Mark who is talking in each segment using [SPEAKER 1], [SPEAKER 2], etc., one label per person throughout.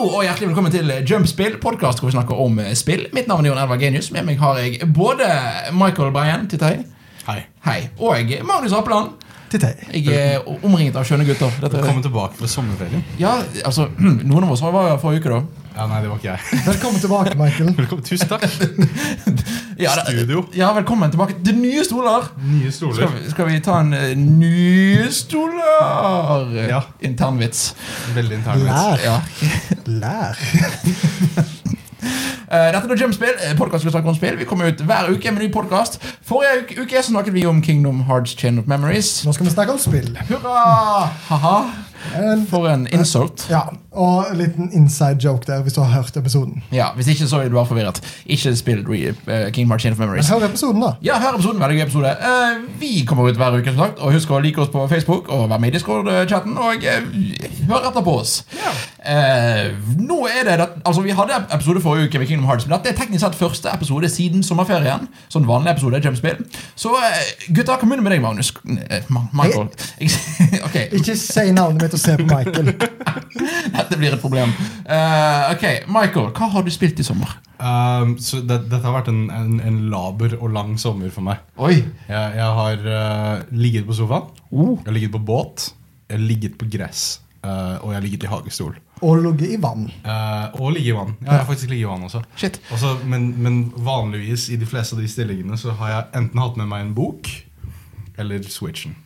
[SPEAKER 1] og hjertelig velkommen til Jumpspill, podkast hvor vi snakker om eh, spill. Mitt navn er Jon Elvar Genius. Med meg har jeg både Michael Bryan Tittei
[SPEAKER 2] Hei.
[SPEAKER 1] Hei, og Magnus Appeland.
[SPEAKER 3] Tittei.
[SPEAKER 1] Jeg er omringet av skjønne gutter. Dette,
[SPEAKER 2] Velkommen tilbake fra sommerferien.
[SPEAKER 1] ja, altså, Noen av oss var her forrige uke, da.
[SPEAKER 2] Ja, nei, det var ikke jeg.
[SPEAKER 3] Velkommen tilbake, Michael.
[SPEAKER 2] Velkommen, Tusen takk.
[SPEAKER 1] Ja, da-
[SPEAKER 2] Studio.
[SPEAKER 1] Ja, Velkommen tilbake til nye stoler.
[SPEAKER 2] Nye
[SPEAKER 1] Skal
[SPEAKER 2] stoler.
[SPEAKER 1] vi, skal vi ta en eh, nye stoler?
[SPEAKER 2] Ja.
[SPEAKER 1] Internvits.
[SPEAKER 2] Veldig intern vits.
[SPEAKER 3] Lær.
[SPEAKER 1] Ja.
[SPEAKER 3] Lær.
[SPEAKER 1] Eh, Dette er Jumpspill, eh, podcasten vi snakker om spill. Vi kommer ut hver uke med ny podkast. Forrige uke- uke så snakket vi om Kingdom Hearts Chain of Memories.
[SPEAKER 3] Nå skal vi snakke om spill.
[SPEAKER 1] Hurra! Haha.
[SPEAKER 3] En,
[SPEAKER 1] For en insult.
[SPEAKER 3] ja, og en liten inside joke der, hvis du har hørt episoden.
[SPEAKER 1] Ja, Hvis ikke, så er du bare forvirret. Ikke spill re- eh, Kingdom Hearts Chain of Memories.
[SPEAKER 3] Men hør episoden, da.
[SPEAKER 1] Ja, her er episoden. Veldig gøy episode. Eh, vi kommer ut hver uke, som sagt. Og husk å like oss på Facebook og være med i Discord-chatten. Og eh, hør etter på oss. Eh, nå er det, det Altså, Vi hadde episode forrige uke med Kingdom Hearts, men dette er teknisk sett første episode siden sommerferien. Sånn vanlig episode Jumpspill. Så eh, gutta, kom inn med deg, Magnus. Eh, Ma- Michael. ok,
[SPEAKER 3] Ikke si navnet mitt og se på Michael.
[SPEAKER 1] dette blir et problem. Eh, ok, Michael, hva har du spilt i sommer?
[SPEAKER 2] Um, så det, dette har vært en, en, en laber og lang sommer for meg.
[SPEAKER 1] Oi.
[SPEAKER 2] Jeg, jeg har eh, ligget på sofaen,
[SPEAKER 3] Oh.
[SPEAKER 2] jeg har ligget på båt, jeg har ligget på gress, eh, og jeg har ligget i hagestol.
[SPEAKER 3] Og ligge i vann.
[SPEAKER 2] Eh, og ligge i vann. Ja, jeg har faktisk ligget i vann også.
[SPEAKER 1] Shit.
[SPEAKER 2] Også, men, men vanligvis i de fleste av de stillingene så har jeg enten hatt med meg en bok eller Switchen.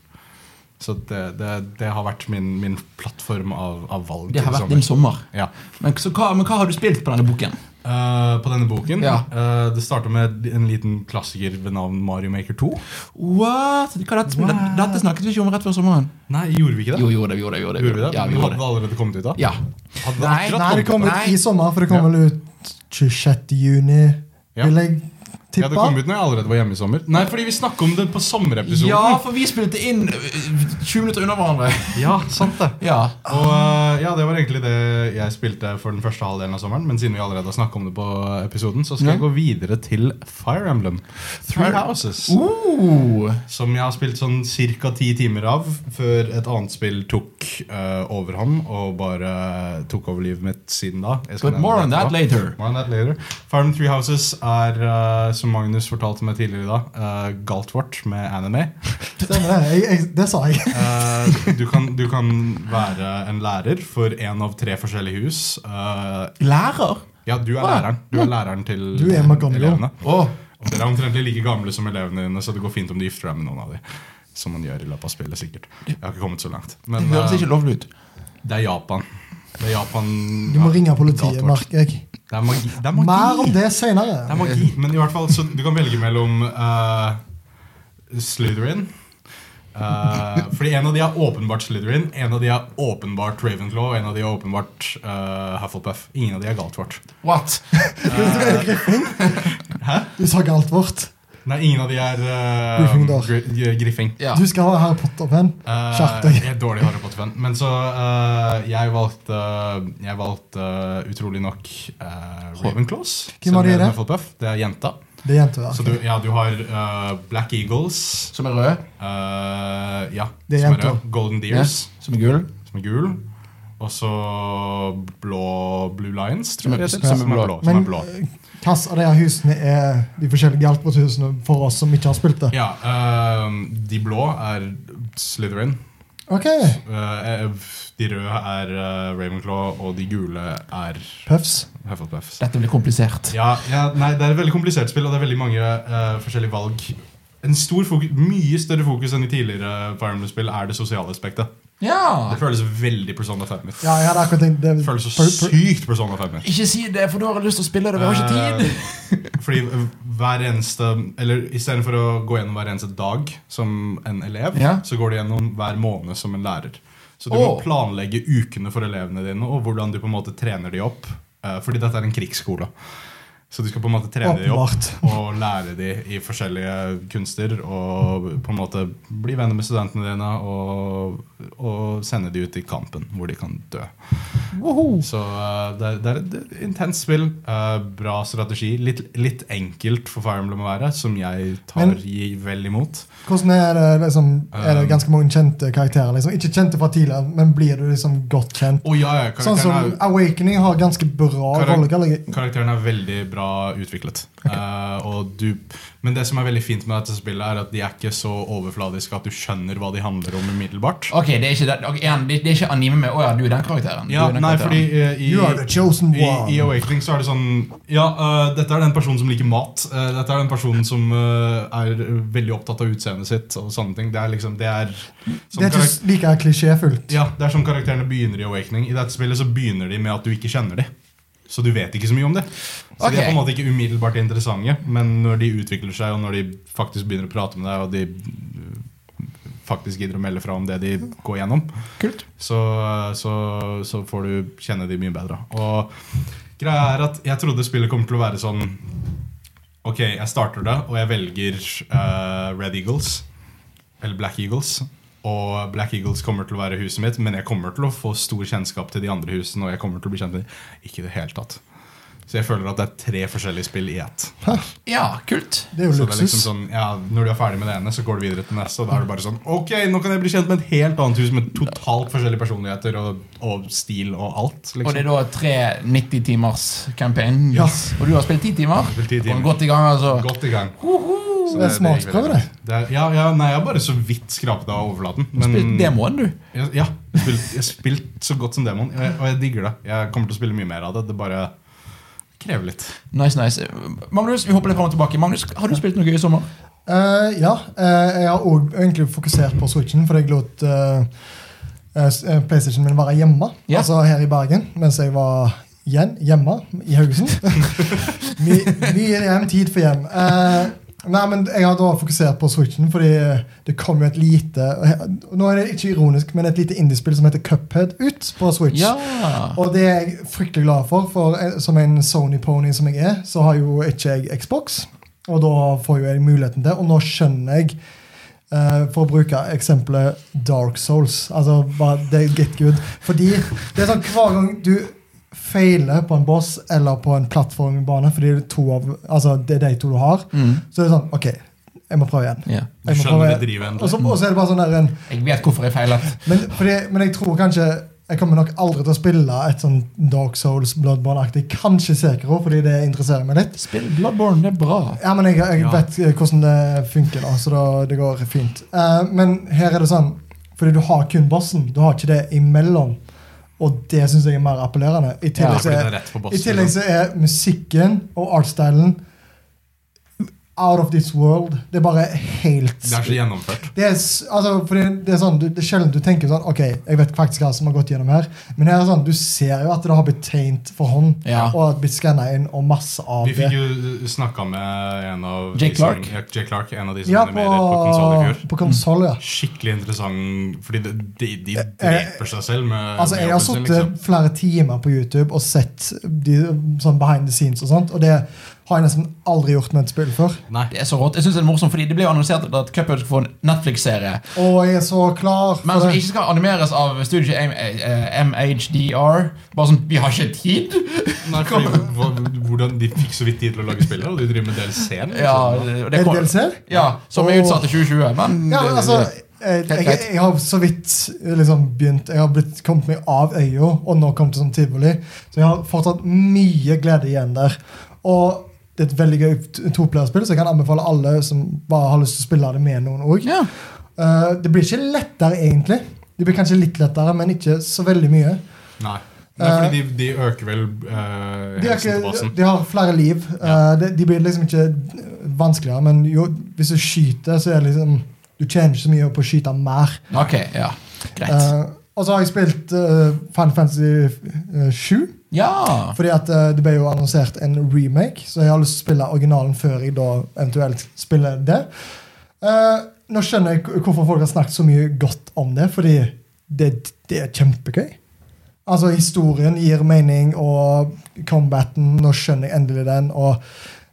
[SPEAKER 2] Så det, det, det har vært min, min plattform av, av valg.
[SPEAKER 1] Det har
[SPEAKER 2] til
[SPEAKER 1] vært din sommer.
[SPEAKER 2] Ja.
[SPEAKER 1] Men, så, hva, men hva har du spilt på denne boken?
[SPEAKER 2] Eh, på denne boken
[SPEAKER 1] Ja.
[SPEAKER 2] eh, Det starta med en liten klassiker ved navn Mario Maker 2.
[SPEAKER 1] What? Hva er dette, spillet? dette snakket vi ikke om rett før sommeren.
[SPEAKER 2] Nei, gjorde vi ikke det?
[SPEAKER 1] Jo, gjorde det, vi gjorde det. Gjorde det.
[SPEAKER 2] Gjorde vi det?
[SPEAKER 1] Ja, vi
[SPEAKER 2] Men
[SPEAKER 1] gjorde
[SPEAKER 2] hadde
[SPEAKER 1] det.
[SPEAKER 2] det allerede kommet ut da?
[SPEAKER 1] Ja.
[SPEAKER 2] Hadde det
[SPEAKER 1] Nei,
[SPEAKER 2] akkurat
[SPEAKER 3] Nei, det kom
[SPEAKER 2] kommet ut?
[SPEAKER 3] ut
[SPEAKER 1] Nei.
[SPEAKER 3] i sommer, for det kom vel ut 26. juni,
[SPEAKER 2] Ja.
[SPEAKER 3] vil jeg
[SPEAKER 2] Ja, det
[SPEAKER 3] tippe.
[SPEAKER 2] kom ut når jeg allerede var hjemme i sommer. Nei, fordi vi snakka om det på sommerepisoden.
[SPEAKER 1] ja, for vi spilte inn øh, 20 minutter unna hverandre.
[SPEAKER 2] ja, sant det
[SPEAKER 1] Ja.
[SPEAKER 2] Og eh, ja, Det var egentlig det jeg spilte for den første halvdelen av sommeren. Men siden vi allerede har snakket om det på episoden, så skal jeg gå videre til Fire Emblem. Three
[SPEAKER 1] Fire-
[SPEAKER 2] Houses.
[SPEAKER 1] Uh.
[SPEAKER 2] Som jeg har spilt sånn ca. ti timer av før et annet spill tok eh, overhånd og bare tok over livet mitt siden da. Jeg skal
[SPEAKER 1] But
[SPEAKER 2] nevne
[SPEAKER 1] more on
[SPEAKER 2] det
[SPEAKER 1] that
[SPEAKER 2] etterpå.
[SPEAKER 1] later.
[SPEAKER 2] More on that later. Fire Emblem Three Houses er, eh, som Magnus fortalte meg tidligere i dag, eh, galt vårt med anime.
[SPEAKER 3] Stemmer det. Jeg, jeg, det sa jeg.
[SPEAKER 2] Eh, du, kan, du kan være en lærer for én av tre forskjellige hus. Eh,
[SPEAKER 1] Lærer?
[SPEAKER 2] ja, du
[SPEAKER 1] Å,
[SPEAKER 2] er
[SPEAKER 1] ja.
[SPEAKER 2] læreren. Du er læreren til
[SPEAKER 3] Mm. Du er Montgomery.
[SPEAKER 2] elevene.
[SPEAKER 1] Åh.
[SPEAKER 2] Og dere er omtrent like gamle som elevene dine, så det går fint om du gifter deg med noen av dem. Som man gjør i løpet av spillet, sikkert. Jeg har ikke kommet så langt.
[SPEAKER 1] Det
[SPEAKER 2] Men
[SPEAKER 1] høres
[SPEAKER 2] eh,
[SPEAKER 1] ikke lovlig ut.
[SPEAKER 2] det er Japan. Det er Japan
[SPEAKER 3] Du må
[SPEAKER 2] ja,
[SPEAKER 3] ringe politiet,
[SPEAKER 2] galt vårt.
[SPEAKER 3] merker jeg.
[SPEAKER 2] Det er magi. Det er magi.
[SPEAKER 3] Mer om det
[SPEAKER 2] Det
[SPEAKER 3] senere.
[SPEAKER 2] er magi. Men i hvert fall, så du kan velge mellom uh, Slytherin Eh, Fordi en av de er åpenbart Slytherin, en av de er åpenbart Ravenclaw, og en av de er åpenbart eh, Hufflepuff. Ingen av de er Galtvort.
[SPEAKER 1] What?
[SPEAKER 3] Du sa galt vårt.
[SPEAKER 2] Nei, ingen av de er eh,
[SPEAKER 3] Gryffindor.
[SPEAKER 2] Gry- Griffing.
[SPEAKER 1] Ja.
[SPEAKER 3] Du skal ha Harry Potter-penn.
[SPEAKER 2] Eh,
[SPEAKER 3] Skjerp deg.
[SPEAKER 2] jeg er dårlig Harry Potter-fan. Men så eh, jeg valgte Jeg valgte eh, utrolig nok uh, Ravenclaws.
[SPEAKER 3] Hvem
[SPEAKER 2] som
[SPEAKER 3] av de er
[SPEAKER 2] leder
[SPEAKER 3] det?
[SPEAKER 2] Hufflepuff. Det er jenta.
[SPEAKER 3] Det er jenter.
[SPEAKER 2] Så du, ja, du har eh, Black Eagles.
[SPEAKER 1] Som er rød,
[SPEAKER 2] eh, ja,
[SPEAKER 3] Det er
[SPEAKER 2] som
[SPEAKER 3] jenta.
[SPEAKER 2] rød. Golden
[SPEAKER 1] ja.
[SPEAKER 2] Deers,
[SPEAKER 1] som er gul,
[SPEAKER 2] som er gul. Og så blå Blue Lions,
[SPEAKER 1] Som
[SPEAKER 2] tror
[SPEAKER 1] er-
[SPEAKER 2] jeg. det
[SPEAKER 1] som er
[SPEAKER 2] heter. Som er
[SPEAKER 1] blå.
[SPEAKER 2] blå. Som
[SPEAKER 3] Men-
[SPEAKER 2] er blå.
[SPEAKER 3] Hva av de her husene er de forskjellige Galtvort-husene for oss som ikke har spilt det?
[SPEAKER 2] Ja, eh, de blå er Slytherin.
[SPEAKER 3] Ok,
[SPEAKER 2] eh, de røde er eh, Ravenclaw, og de gule er
[SPEAKER 3] Puffs.
[SPEAKER 2] Hufflepuff.
[SPEAKER 1] dette blir komplisert.
[SPEAKER 2] Ja, ja, nei, det er et veldig komplisert spill, og det er veldig mange eh, forskjellige valg. En stor fokus, Mye større fokus enn i tidligere Fire Emblem-spill er det sosiale aspektet.
[SPEAKER 1] Ja.
[SPEAKER 2] Det føles veldig Persona 5. mitt.
[SPEAKER 3] Ja, jeg hadde akkurat tenkt det.
[SPEAKER 2] Det føles så
[SPEAKER 3] per- per-
[SPEAKER 2] sykt Persona 5. mitt.
[SPEAKER 1] Ikke si det, for da har jeg lyst til å spille det. Vi har ikke tid.
[SPEAKER 2] Eh, Fordi hver eneste Eller istedenfor å gå gjennom hver eneste dag som en elev,
[SPEAKER 1] Ja.
[SPEAKER 2] så går du gjennom hver måned som en lærer. Så du
[SPEAKER 1] Åh.
[SPEAKER 2] må planlegge ukene for elevene dine, og hvordan du på en måte trener de opp. Eh, Fordi dette er en krigsskole. Så du skal på en måte trene de opp
[SPEAKER 3] Åpenbart.
[SPEAKER 2] og lære de i forskjellige kunster. Og på en måte bli venner med studentene dine og, og sende de ut i kampen, hvor de kan dø.
[SPEAKER 3] Woho!
[SPEAKER 2] Så eh, det, er- det er et intenst spill. eh, bra strategi. Litt, litt enkelt for Fire Emblem å være, som jeg tar
[SPEAKER 3] Men-
[SPEAKER 2] gi vel imot.
[SPEAKER 3] Hvordan er det liksom, er det
[SPEAKER 2] Um,
[SPEAKER 3] ganske mange kjente karakterer? liksom? Ikke kjente fra tidligere, men blir du liksom godt kjent?
[SPEAKER 2] Å ja, ja, karakteren
[SPEAKER 3] Sånn som
[SPEAKER 2] er-
[SPEAKER 3] Awakening har ganske bra
[SPEAKER 2] Karak-
[SPEAKER 3] rollegalleri.
[SPEAKER 2] Karakteren er veldig bra utviklet. Eh, og du, men det som er veldig fint med dette spillet, er at de er ikke så overfladiske at du skjønner hva de handler om umiddelbart.
[SPEAKER 1] Ok, det er ikke, den- ok, igjen, det, det er ikke anime med 'Å ja, du er den karakteren'.
[SPEAKER 2] Ja,
[SPEAKER 1] du er den
[SPEAKER 2] nei, fordi
[SPEAKER 1] karakteren.
[SPEAKER 2] eh, i,
[SPEAKER 3] You are the chosen
[SPEAKER 2] i,
[SPEAKER 3] one.
[SPEAKER 2] I Awakening så er det sånn Ja, eh, dette er den personen som liker mat. eh, dette er den personen som eh, er veldig opptatt av utseendet sitt og sånne ting. Det er liksom, det er som
[SPEAKER 3] Det er
[SPEAKER 2] karak-
[SPEAKER 3] ikke like klisjéfullt.
[SPEAKER 2] Ja, det er som karakterene begynner i Awakening. I dette spillet så begynner de med at du ikke kjenner dem. Så du vet ikke så mye om det. Så de
[SPEAKER 1] Ok.
[SPEAKER 2] er på en måte ikke umiddelbart interessante, men når de utvikler seg, og når de faktisk begynner å prate med deg, og de øh, faktisk gidder å melde fra om det de går gjennom,
[SPEAKER 1] Kult.
[SPEAKER 2] så, så, så får du kjenne de mye bedre. Og greia er at jeg trodde spillet kom til å være sånn Ok, jeg starter det, og jeg velger eh, Red Eagles. Eller Black Eagles. Og Black Eagles kommer til å være huset mitt, men jeg kommer til å få stor kjennskap til de andre husene. Og jeg kommer til å bli kjent med de Ikke i det hele tatt. Så jeg føler at det er tre forskjellige spill i ett.
[SPEAKER 1] Ja, kult.
[SPEAKER 3] Det er jo
[SPEAKER 2] Så det er liksom
[SPEAKER 3] luksus.
[SPEAKER 2] sånn, ja, Når du er ferdig med det ene, så går du videre til neste. Og da er det bare sånn Ok, nå kan jeg bli kjent med et helt annet hus med totalt forskjellige personligheter og, og stil og alt.
[SPEAKER 1] Og det er
[SPEAKER 2] Liksom.
[SPEAKER 1] da tre 90 timers campaign.
[SPEAKER 2] Ja.
[SPEAKER 1] Og du har spilt 10 timer?
[SPEAKER 2] spilt 10 timer.
[SPEAKER 1] Og godt i gang, altså.
[SPEAKER 2] Godt i gang. Så
[SPEAKER 3] Det er
[SPEAKER 2] gikk veldig
[SPEAKER 3] smaksprøve,
[SPEAKER 2] bra.
[SPEAKER 3] det.
[SPEAKER 2] Det er, ja, ja, nei, jeg har bare så vidt skrapet av overflaten.
[SPEAKER 1] Spilt demoen, du.
[SPEAKER 2] Jeg, ja, jeg har spilt- jeg har spilt så godt som demon, og jeg, og jeg digger det. Jeg kommer til å spille mye mer av det. Det bare krever litt.
[SPEAKER 1] Nice, nice. Magnus, vi hopper litt fram og tilbake. Magnus, har du spilt noe gøy i sommer?
[SPEAKER 3] Eh, ja, eh, jeg har òg egentlig fokusert på Switchen, for jeg lot eh, eh, s- eh, PlayStation min være hjemme,
[SPEAKER 1] Ja.
[SPEAKER 3] altså her i Bergen, mens jeg var igjen hjemme i Haugesund. Mye mye hjem, tid for hjem. Eh, nei, men jeg har da fokusert på Switchen, fordi det kom jo et lite Nå er det ikke ironisk, men et lite indiespill som heter Cuphead, ut på Switch. Og det er jeg fryktelig glad for, for eh, som en Sony-pony som jeg er, så har jo ikke jeg Xbox. Og da får jo jeg muligheten til, og nå skjønner jeg, eh, for å bruke eksempelet Dark Souls Altså, bare det er get good. Fordi det er sånn hver gang du feiler på en boss eller på en plattformbane, fordi det er, to av, altså, det er de to du har,
[SPEAKER 1] Mm.
[SPEAKER 3] så er det sånn OK, jeg må prøve igjen.
[SPEAKER 1] Ja.
[SPEAKER 2] Du
[SPEAKER 3] Jeg må
[SPEAKER 2] skjønner
[SPEAKER 3] prøve.
[SPEAKER 2] det driver
[SPEAKER 3] Og
[SPEAKER 2] endelig.
[SPEAKER 3] så, og så er det bare sånn der en
[SPEAKER 1] Jeg vet hvorfor jeg feilet.
[SPEAKER 3] men, fordi, men jeg tror kanskje Jeg kommer nok aldri til å spille et sånn Dark Souls Bloodborne-aktig. Kanskje Sekiro, fordi det interesserer meg litt.
[SPEAKER 1] Spill Bloodborne, det er bra.
[SPEAKER 3] Ja, men jeg, jeg
[SPEAKER 2] Ja.
[SPEAKER 3] vet eh, hvordan det funker, da, så da, det går fint. Eh, men her er det sånn Fordi du har kun bossen. Du har ikke det imellom. Og det syns jeg er mer appellerende. I
[SPEAKER 1] Ja,
[SPEAKER 3] tillegg
[SPEAKER 2] fordi
[SPEAKER 3] så
[SPEAKER 2] det
[SPEAKER 3] er
[SPEAKER 2] er rett på liksom.
[SPEAKER 3] i
[SPEAKER 2] bossen.
[SPEAKER 3] tillegg så er musikken og artstylen out of this world. Det er bare helt
[SPEAKER 2] Det er så gjennomført.
[SPEAKER 3] det er, s- altså, fordi det er sånn, du, det er sjelden du tenker sånn Ok, jeg vet faktisk hva som har gått gjennom her. Men her er sånn, du ser jo at det har blitt tegnet for hånd.
[SPEAKER 1] Ja.
[SPEAKER 3] Og at blitt skanna inn, og masse av
[SPEAKER 2] Vi fikk
[SPEAKER 3] det.
[SPEAKER 2] jo snakka med en av
[SPEAKER 1] Jake
[SPEAKER 2] de som-
[SPEAKER 1] Clark?
[SPEAKER 2] ja, Jake Clark, en av de som
[SPEAKER 3] Ja, på,
[SPEAKER 2] animerer på konsoll i fjor.
[SPEAKER 3] på konsoll, ja.
[SPEAKER 2] Skikkelig interessant, fordi de, de, de dreper seg selv med
[SPEAKER 3] Eh, Altså,
[SPEAKER 2] med
[SPEAKER 3] Jeg
[SPEAKER 2] jobben
[SPEAKER 3] har
[SPEAKER 2] sin, liksom.
[SPEAKER 3] sittet flere timer på YouTube og sett de, sånn behind the scenes og sånt, og det har jeg nesten aldri gjort med et spill før.
[SPEAKER 2] Nei,
[SPEAKER 1] Det er så rått. Jeg synes Det er morsomt, fordi det ble jo annonsert at Cuphead skal få en Netflix-serie.
[SPEAKER 3] Og jeg er så klar
[SPEAKER 1] Men
[SPEAKER 3] for
[SPEAKER 1] som
[SPEAKER 3] det.
[SPEAKER 1] ikke skal animeres av studio M- eh, MHDR. Bare sånn Vi har ikke tid!
[SPEAKER 2] Nei fordi, hva- hvordan, De fikk så vidt tid til å lage spiller, og de driver med liksom. DLC-en.
[SPEAKER 1] Ja, og det
[SPEAKER 3] Er
[SPEAKER 1] kom,
[SPEAKER 3] det DLC?
[SPEAKER 1] ja, som er utsatt til 2020. Men,
[SPEAKER 3] Ja, men altså jeg, jeg, jeg,
[SPEAKER 1] greit.
[SPEAKER 3] har så vidt eh, liksom begynt Jeg har blitt, kommet meg av øya, og nå kommet til sånn tivoli. Så jeg har fortsatt mye glede igjen der. Og det er et veldig gøy t- toplayerspill, så jeg kan anbefale alle som bare har lyst til å spille det med noen òg.
[SPEAKER 1] ja.
[SPEAKER 3] det blir ikke lettere, egentlig. Det blir kanskje litt lettere, men ikke så veldig mye.
[SPEAKER 2] Nei, Nei fordi de, de øker vel eh,
[SPEAKER 3] De, er
[SPEAKER 2] helsen til
[SPEAKER 3] ikke,
[SPEAKER 2] basen.
[SPEAKER 3] de har flere liv. Eh, de, de blir liksom ikke vanskeligere, men jo, hvis du skyter, så er det liksom Du tjener ikke så mye på å skyte mer.
[SPEAKER 1] Ok, ja. Greit.
[SPEAKER 3] Eh, og så har jeg spilt uh, Final Fantasy eh, 7.
[SPEAKER 1] Ja.
[SPEAKER 3] Fordi at eh, det ble jo annonsert en remake, så jeg har lyst til å spille originalen før jeg da eventuelt spiller det. Eh, nå skjønner jeg k- hvorfor folk har snakket så mye godt om det, fordi det, det er kjempegøy. Altså, historien gir mening, og combaten Nå skjønner jeg endelig den. Og